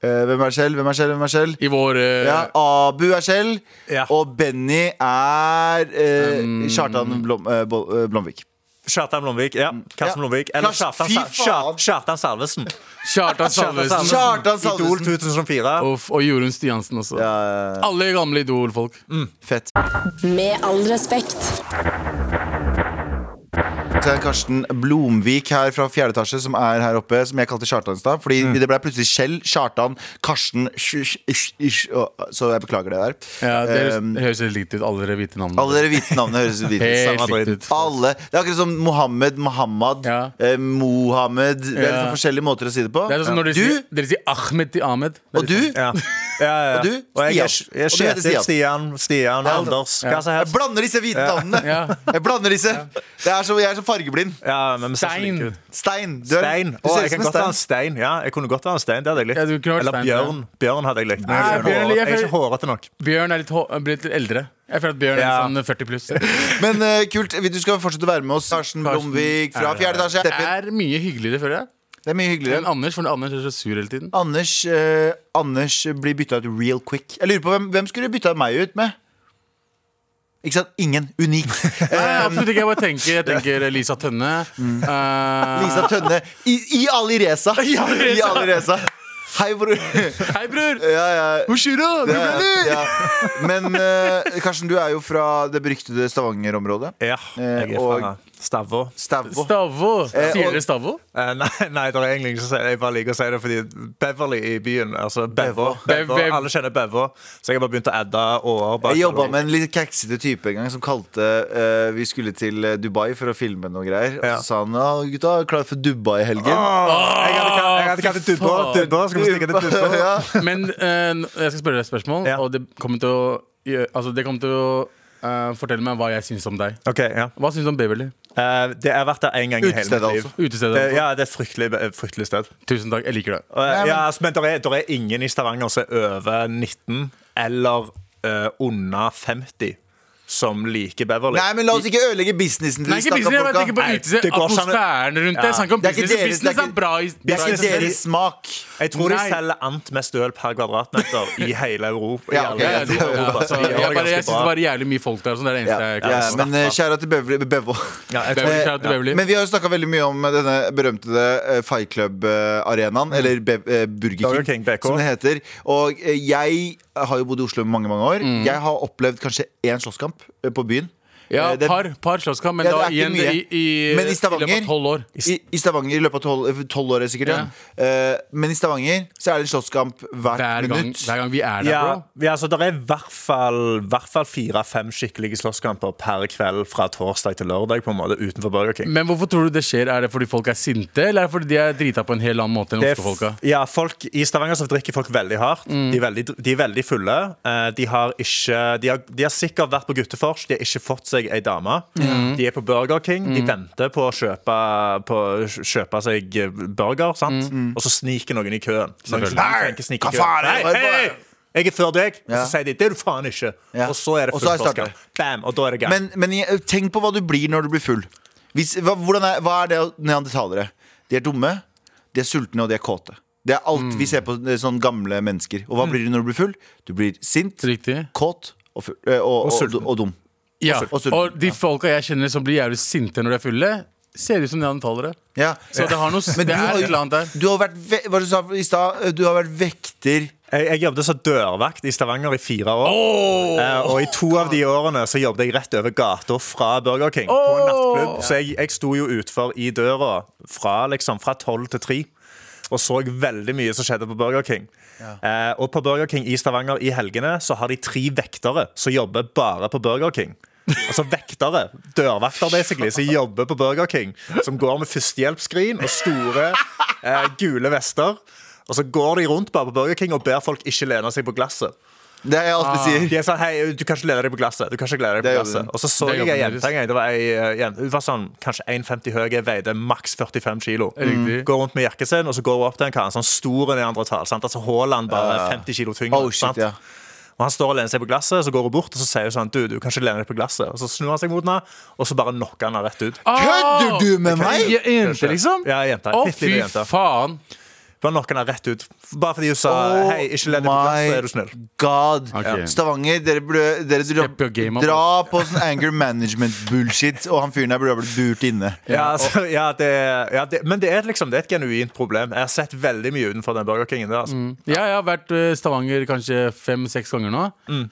[SPEAKER 2] eh, Hvem er Kjell? Hvem er Kjell? Hvem er Kjell?
[SPEAKER 3] i vår eh,
[SPEAKER 2] Ja, Abu er Kjell,
[SPEAKER 4] Ja.
[SPEAKER 2] og Benny er eh,
[SPEAKER 3] Um,
[SPEAKER 2] Kjartan Blom, eh, Bol- eh, Blomvik.
[SPEAKER 4] Kjartan Blomvik. Ja. Karsten
[SPEAKER 2] Ja.
[SPEAKER 4] Blomvik. Eller
[SPEAKER 2] Kjartan-
[SPEAKER 4] Kjartan,
[SPEAKER 2] fy
[SPEAKER 4] Sa-
[SPEAKER 2] faen!
[SPEAKER 4] Kjar- Kjartan Salvesen.
[SPEAKER 3] Kjartan Salvesen
[SPEAKER 2] Kjartan
[SPEAKER 4] Idol
[SPEAKER 2] Salvesen.
[SPEAKER 4] 2004.
[SPEAKER 3] og, og Jorunn Stiansen også.
[SPEAKER 2] Ja,
[SPEAKER 3] Alle gamle Idol-folk.
[SPEAKER 2] fett.
[SPEAKER 1] Med all respekt.
[SPEAKER 2] kaptein Karsten Blomvik her fra fjerde etasje, som er her oppe, som jeg kalte Kjartanstad. Fordi
[SPEAKER 3] Mm.
[SPEAKER 2] det ble plutselig Kjell, Kjartan, Karsten sh- sh- sh- sh- og- Så jeg beklager det der.
[SPEAKER 3] Ja, det høres-
[SPEAKER 2] Um,
[SPEAKER 3] det høres helt likt ut. Alle dere hvite navnene.
[SPEAKER 2] alle dere hvite navnene høres ut dit.
[SPEAKER 3] Helt
[SPEAKER 2] Samme
[SPEAKER 3] likt
[SPEAKER 2] dritt.
[SPEAKER 3] ut.
[SPEAKER 2] Alle. Det er akkurat som Mohammed, Mohammad,
[SPEAKER 3] Ja.
[SPEAKER 2] eh, Mohammed Det er
[SPEAKER 3] Ja.
[SPEAKER 2] liksom forskjellige måter å si det på.
[SPEAKER 3] Det er sånn når dere,
[SPEAKER 2] Du
[SPEAKER 3] sier, dere sier Ahmed til Ahmed. Det er
[SPEAKER 2] og
[SPEAKER 3] litt
[SPEAKER 2] du.
[SPEAKER 3] sånn.
[SPEAKER 4] Ja. Ja, ja, ja.
[SPEAKER 2] Og du?
[SPEAKER 4] Og jeg, er-
[SPEAKER 2] Stian.
[SPEAKER 4] jeg er
[SPEAKER 2] Og du heter Stian.
[SPEAKER 4] Kjetil, Stian, Stian,
[SPEAKER 2] Ja.
[SPEAKER 4] Anders, hva som
[SPEAKER 2] Jeg
[SPEAKER 4] helst.
[SPEAKER 2] blander disse hvite navnene.
[SPEAKER 3] Ja.
[SPEAKER 2] Jeg blander disse det er så, Jeg er så fargeblind.
[SPEAKER 4] Ja, men vi ser så like
[SPEAKER 3] Stein.
[SPEAKER 4] ut.
[SPEAKER 2] Stein. Du er-
[SPEAKER 4] Stein.
[SPEAKER 2] Du
[SPEAKER 4] Å,
[SPEAKER 2] ser
[SPEAKER 4] jeg
[SPEAKER 2] ut som en
[SPEAKER 4] kan godt ha en
[SPEAKER 2] stein.
[SPEAKER 4] stein. Ja, jeg kunne godt ha en stein. Det hadde jeg likt.
[SPEAKER 3] Ja, du kunne vært
[SPEAKER 4] Eller
[SPEAKER 3] stein,
[SPEAKER 4] bjørn. Bjørn hadde jeg likt. Men
[SPEAKER 3] Nei,
[SPEAKER 4] jeg, er ikke
[SPEAKER 3] bjørn,
[SPEAKER 4] håret-
[SPEAKER 3] jeg
[SPEAKER 4] jeg er ikke
[SPEAKER 3] føler-
[SPEAKER 4] hårete nok.
[SPEAKER 3] Bjørn er litt, hå- blitt litt eldre. Jeg føler at Bjørn
[SPEAKER 4] Ja.
[SPEAKER 3] er sånn 40 pluss.
[SPEAKER 2] Men eh, kult. Vi- Du skal fortsette å være med oss. Karsten
[SPEAKER 3] Karsten
[SPEAKER 2] Blomvik fra
[SPEAKER 3] er her.
[SPEAKER 2] fjerde etasje.
[SPEAKER 3] Det
[SPEAKER 2] Steffen.
[SPEAKER 3] er mye hyggeligere, føler jeg.
[SPEAKER 2] Det er mye hyggeligere.
[SPEAKER 3] Enn Anders, for Anders er så sur hele tiden.
[SPEAKER 2] Anders, eh, Anders blir bytta ut real quick. Jeg lurer på Hvem, hvem skulle bytta meg ut med? Ikke sant? Ingen. Unik.
[SPEAKER 3] Nei, absolutt ikke. Jeg bare tenker, jeg tenker Lisa Tønne. eh,
[SPEAKER 2] Lisa Tønne i, i Ali Reza. I
[SPEAKER 3] Ali Reza.
[SPEAKER 2] Ali Reza. Hei, bror.
[SPEAKER 3] Hei, bror!
[SPEAKER 2] Ja, ja.
[SPEAKER 3] Hoshiro!
[SPEAKER 2] Ja, ja. Men eh, Karsten, du er jo fra det beryktede Stavanger-området.
[SPEAKER 4] Ja, jeg er
[SPEAKER 2] og-
[SPEAKER 4] fra Stavå.
[SPEAKER 2] Stavå.
[SPEAKER 3] Stavå.
[SPEAKER 2] Eh,
[SPEAKER 3] Sier
[SPEAKER 2] og-
[SPEAKER 3] dere Stavå?
[SPEAKER 4] Eh, nei, nei, det er egentlig ikke så jeg bare liker å si det fordi Beverly i byen, altså Bevå.
[SPEAKER 3] Bev-
[SPEAKER 4] Bevå.
[SPEAKER 3] Bev-
[SPEAKER 4] Alle kjenner Bevå, så jeg har bare begynt å adde årer. bak-
[SPEAKER 2] Jeg jobba med en litt keksete type en gang som kalte eh, Vi skulle til eh, Dubai for å filme noe greier.
[SPEAKER 4] Ja.
[SPEAKER 2] Og så sa han ja, gutta, er klare for Dubai i helgen?
[SPEAKER 4] Jeg hadde kalt- jeg hadde kalt det Dubba.
[SPEAKER 3] faen.
[SPEAKER 4] Dubba. Skal vi stikke til Dubba?
[SPEAKER 2] ja.
[SPEAKER 3] Men eh, n- jeg skal spørre deg et spørsmål,
[SPEAKER 4] Ja.
[SPEAKER 3] og det kommer til å, gjø- altså, det kommer til å eh, fortelle meg hva jeg syns om deg.
[SPEAKER 4] Ok, ja
[SPEAKER 3] Hva syns du om Beverly?
[SPEAKER 4] Eh, Det har vært der én gang i hele
[SPEAKER 2] Utestedet,
[SPEAKER 4] mitt liv.
[SPEAKER 2] altså.
[SPEAKER 3] Utestedet,
[SPEAKER 4] Det,
[SPEAKER 3] altså.
[SPEAKER 4] Eh, ja, det er et fryktelig, et fryktelig sted.
[SPEAKER 3] Tusen takk, jeg liker det.
[SPEAKER 4] Og,
[SPEAKER 2] Nei, men-
[SPEAKER 4] ja, altså, men det er, der er ingen i Stavanger som er over 19 eller eh, under 50 som liker Beverly.
[SPEAKER 2] Nei, men la oss ikke ødelegge businessen til
[SPEAKER 3] Nei,
[SPEAKER 2] de
[SPEAKER 3] ikke
[SPEAKER 2] stakkars
[SPEAKER 3] business, jeg bare
[SPEAKER 2] folka.
[SPEAKER 3] tenker på
[SPEAKER 4] Nei,
[SPEAKER 3] utested,
[SPEAKER 4] det går sammen-
[SPEAKER 3] atmosfæren rundt det. Jeg snakker om
[SPEAKER 2] Det er ikke
[SPEAKER 3] business.
[SPEAKER 2] deres- det er
[SPEAKER 3] Business er
[SPEAKER 2] ikke-
[SPEAKER 3] bra. i-
[SPEAKER 2] Det
[SPEAKER 3] bra
[SPEAKER 2] er
[SPEAKER 3] i seg
[SPEAKER 2] ikke
[SPEAKER 3] selv.
[SPEAKER 2] deres smak.
[SPEAKER 4] Jeg tror
[SPEAKER 3] Nei.
[SPEAKER 4] de selger ant mest øl per kvadratmeter i hele Europa.
[SPEAKER 2] Ja, ok,
[SPEAKER 4] I
[SPEAKER 3] Ja, ja,
[SPEAKER 4] alle
[SPEAKER 2] det
[SPEAKER 3] de-
[SPEAKER 4] deler av
[SPEAKER 3] ja,
[SPEAKER 4] Europa, så
[SPEAKER 3] altså,
[SPEAKER 4] de
[SPEAKER 3] Jeg
[SPEAKER 4] gjør det
[SPEAKER 3] bare- jeg
[SPEAKER 4] ganske
[SPEAKER 3] syns det
[SPEAKER 4] bra.
[SPEAKER 3] var jævlig mye folk der. Sånn, det er det
[SPEAKER 2] Ja,
[SPEAKER 3] eneste jeg
[SPEAKER 2] ja,
[SPEAKER 3] kan
[SPEAKER 2] men eh, kjære til Beverly- Bevo.
[SPEAKER 4] Ja, jeg tror
[SPEAKER 3] Beverly,
[SPEAKER 2] Eh,
[SPEAKER 3] shout out til Beverly.
[SPEAKER 2] Men vi har jo snakka veldig mye om denne berømte eh, Fight
[SPEAKER 3] Mm.
[SPEAKER 2] Club-arenaen, eller Be eh, Burger
[SPEAKER 4] Burger
[SPEAKER 2] King,
[SPEAKER 4] King, BK.
[SPEAKER 2] som det heter. Og eh, jeg har jo bodd i Oslo i mange mange år.
[SPEAKER 3] Mm.
[SPEAKER 2] Jeg har opplevd kanskje én slåsskamp eh, på byen.
[SPEAKER 3] Ja,
[SPEAKER 2] Eh, det-
[SPEAKER 3] par, par slåsskamp, men
[SPEAKER 2] Ja, det
[SPEAKER 3] da
[SPEAKER 2] er ikke
[SPEAKER 3] igjen
[SPEAKER 2] mye.
[SPEAKER 3] i, i,
[SPEAKER 2] Men i Stavanger-
[SPEAKER 3] løpet av 12 år.
[SPEAKER 2] I, I Stavanger i løpet av tolv, tolv år, sikkert. Ja. Eh, men i Stavanger så er det en slåsskamp hvert
[SPEAKER 3] Hver gang,
[SPEAKER 2] minutt.
[SPEAKER 3] hver gang vi er der,
[SPEAKER 4] Ja,
[SPEAKER 3] bro.
[SPEAKER 4] ja, så det er i hvert fall, hvert fall fire-fem skikkelige slåsskamper per kveld fra torsdag til lørdag på en måte utenfor Burger King.
[SPEAKER 3] Men hvorfor tror du det skjer? Er det fordi folk er sinte, eller er det fordi de er drita på en helt annen måte enn
[SPEAKER 4] Det er
[SPEAKER 3] oslofolka?
[SPEAKER 4] f- ja, folk, I Stavanger så drikker folk veldig hardt.
[SPEAKER 2] Mm.
[SPEAKER 4] De, er veldig, de er veldig fulle. Eh, De har, ikke, de, har, de har sikkert vært på guttefors, de har ikke fått seg ei dame. De er på Burger King,
[SPEAKER 2] Mm.
[SPEAKER 4] de venter på å kjøpe, på å kjøpe seg eh, burger, sant?
[SPEAKER 2] Mm.
[SPEAKER 4] og så sniker noen i køen. Noen
[SPEAKER 3] Selvfølgelig.
[SPEAKER 4] som ikke tenker sniker i
[SPEAKER 2] Hva faen
[SPEAKER 4] køen.
[SPEAKER 2] er det?
[SPEAKER 4] Hei, hei, hei! Jeg er før deg, og
[SPEAKER 2] Ja.
[SPEAKER 4] så sier de 'det er du faen ikke'.
[SPEAKER 2] Ja.
[SPEAKER 4] Og så er det
[SPEAKER 2] Og så er
[SPEAKER 4] full
[SPEAKER 2] jeg startet.
[SPEAKER 4] påske. Bam, og da er det gang.
[SPEAKER 2] Men, men jeg- tenk på hva du blir når du blir full. Hvis, hva, hvordan er, hva er det av neandertalere? De er dumme, de er sultne, og de er kåte. Det er alt
[SPEAKER 3] Mm.
[SPEAKER 2] vi ser på eh, sånne gamle mennesker. Og hva blir du når du blir full? Du blir sint,
[SPEAKER 3] Riktig.
[SPEAKER 2] kåt og, full, eh, og, og, og,
[SPEAKER 4] sulten.
[SPEAKER 2] dum.
[SPEAKER 3] Ja.
[SPEAKER 2] sulten. Og sulten.
[SPEAKER 3] Og de folka jeg kjenner som blir jævlig sinte når de er fulle, ser ut som neandertalere.
[SPEAKER 2] Ja.
[SPEAKER 3] Så det, har noe, s-
[SPEAKER 2] Men
[SPEAKER 3] det
[SPEAKER 2] du har
[SPEAKER 3] er
[SPEAKER 2] jo-
[SPEAKER 3] et eller annet der.
[SPEAKER 2] Du har vært, ve hva du sa i stad, du har vært vekter.
[SPEAKER 4] Jeg, jeg jobbet som dørvakt i Stavanger i fire år. Eh, og i to av de årene så jobbet jeg rett over gata fra Burger King. På en nattklubb Så jeg, jeg sto jo utfor i døra fra liksom fra tolv til tre. Og så veldig mye som skjedde på Burger King. Eh, og på Burger King i Stavanger i helgene så har de tre vektere som jobber bare på Burger King. Altså vektere, dørvakter basically, som jobber på Burger King. Som går med førstehjelpsskrin og store eh, gule vester. Og så går de rundt bare på Burger King og ber folk ikke lene seg på glasset.
[SPEAKER 2] Det er jeg
[SPEAKER 3] Ah.
[SPEAKER 2] alltid sier.
[SPEAKER 4] De er sånn, hei, du kan ikke lene deg på glasset. Du kan ikke lene deg
[SPEAKER 2] Det
[SPEAKER 4] på
[SPEAKER 2] gjør
[SPEAKER 4] glasset
[SPEAKER 2] du.
[SPEAKER 4] Og så så
[SPEAKER 3] Det
[SPEAKER 4] jeg
[SPEAKER 3] gjør
[SPEAKER 4] ei
[SPEAKER 3] du
[SPEAKER 4] jente en gang. Det var ei, eh, jente- Hun var sånn kanskje 1,50 høy, jeg veide maks 45 kilo.
[SPEAKER 3] Riktig.
[SPEAKER 4] Går rundt med jakken sin, og så går hun opp til en kar, en sånn stor neandertal. sant? Altså Haaland bare 50 kilo tyngre.
[SPEAKER 2] Oh shit,
[SPEAKER 4] sant?
[SPEAKER 2] ja.
[SPEAKER 4] Og Han står og lener seg på glasset, så går hun bort og så sier hun sånn Du, du kan ikke lene deg på glasset. Og så snur han seg mot henne, og så bare knocker han henne rett ut.
[SPEAKER 2] Ah. Kødder du med meg?!
[SPEAKER 3] Ei Jente, liksom?
[SPEAKER 4] Ja, jenta.
[SPEAKER 3] Å,
[SPEAKER 4] Bitte
[SPEAKER 3] fy
[SPEAKER 4] lille jente.
[SPEAKER 3] faen.
[SPEAKER 4] Bare knocker han henne rett ut. Bare fordi hun sa
[SPEAKER 2] Oh
[SPEAKER 4] Eh, hei, ikke len deg på glasset, er du
[SPEAKER 2] my
[SPEAKER 4] snill.
[SPEAKER 2] god.
[SPEAKER 3] Ok.
[SPEAKER 2] Stavanger, dere, burde- dere
[SPEAKER 3] Step your game
[SPEAKER 2] dra,
[SPEAKER 3] up,
[SPEAKER 2] dra på sånn anger management-bullshit, og han fyren der burde ha blitt burt inne.
[SPEAKER 4] Ja, altså, ja, det, ja det, men det er liksom det er et genuint problem. Jeg har sett veldig mye utenfor den Burger Kingen. Der, altså.
[SPEAKER 3] Ja, jeg har vært i Stavanger kanskje fem-seks ganger nå.
[SPEAKER 4] Mm.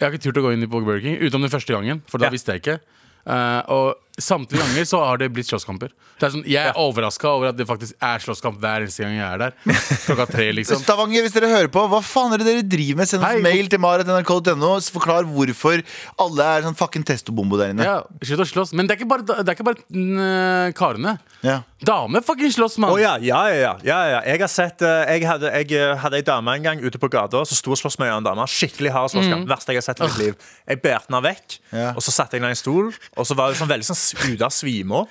[SPEAKER 3] Jeg har ikke turt å gå inn i Burger King, utenom den første gangen, for da
[SPEAKER 4] Ja.
[SPEAKER 3] visste jeg ikke. Eh, og samtlige ganger så har det blitt slåsskamper. Det er sånn, jeg er overraska over at det faktisk er slåsskamp hver eneste gang jeg er der. Klokka tre, liksom.
[SPEAKER 2] Stavanger, hvis dere hører på, hva faen er det dere driver med? Send oss
[SPEAKER 3] Hei, hvor-
[SPEAKER 2] mail til maret.nrk.no. så Forklar hvorfor alle er sånn fucking testobombo der inne.
[SPEAKER 3] Ja, Slutt å slåss. Men det er ikke bare, det er ikke bare mm, karene.
[SPEAKER 2] Ja.
[SPEAKER 3] Damer fucking slåss, mann!
[SPEAKER 4] Å ja, ja, ja, ja, ja, ja. Jeg har sett eh, Jeg hadde, jeg eh, hadde ei dame en gang ute på gata som sto og sloss med ei annen dame. Skikkelig hard slåsskamp. Verste jeg har sett i mitt liv. Jeg bærte henne vekk,
[SPEAKER 2] Ja.
[SPEAKER 4] og så satte jeg henne i en stol, og så var hun sånn veldig sånn ute av svima.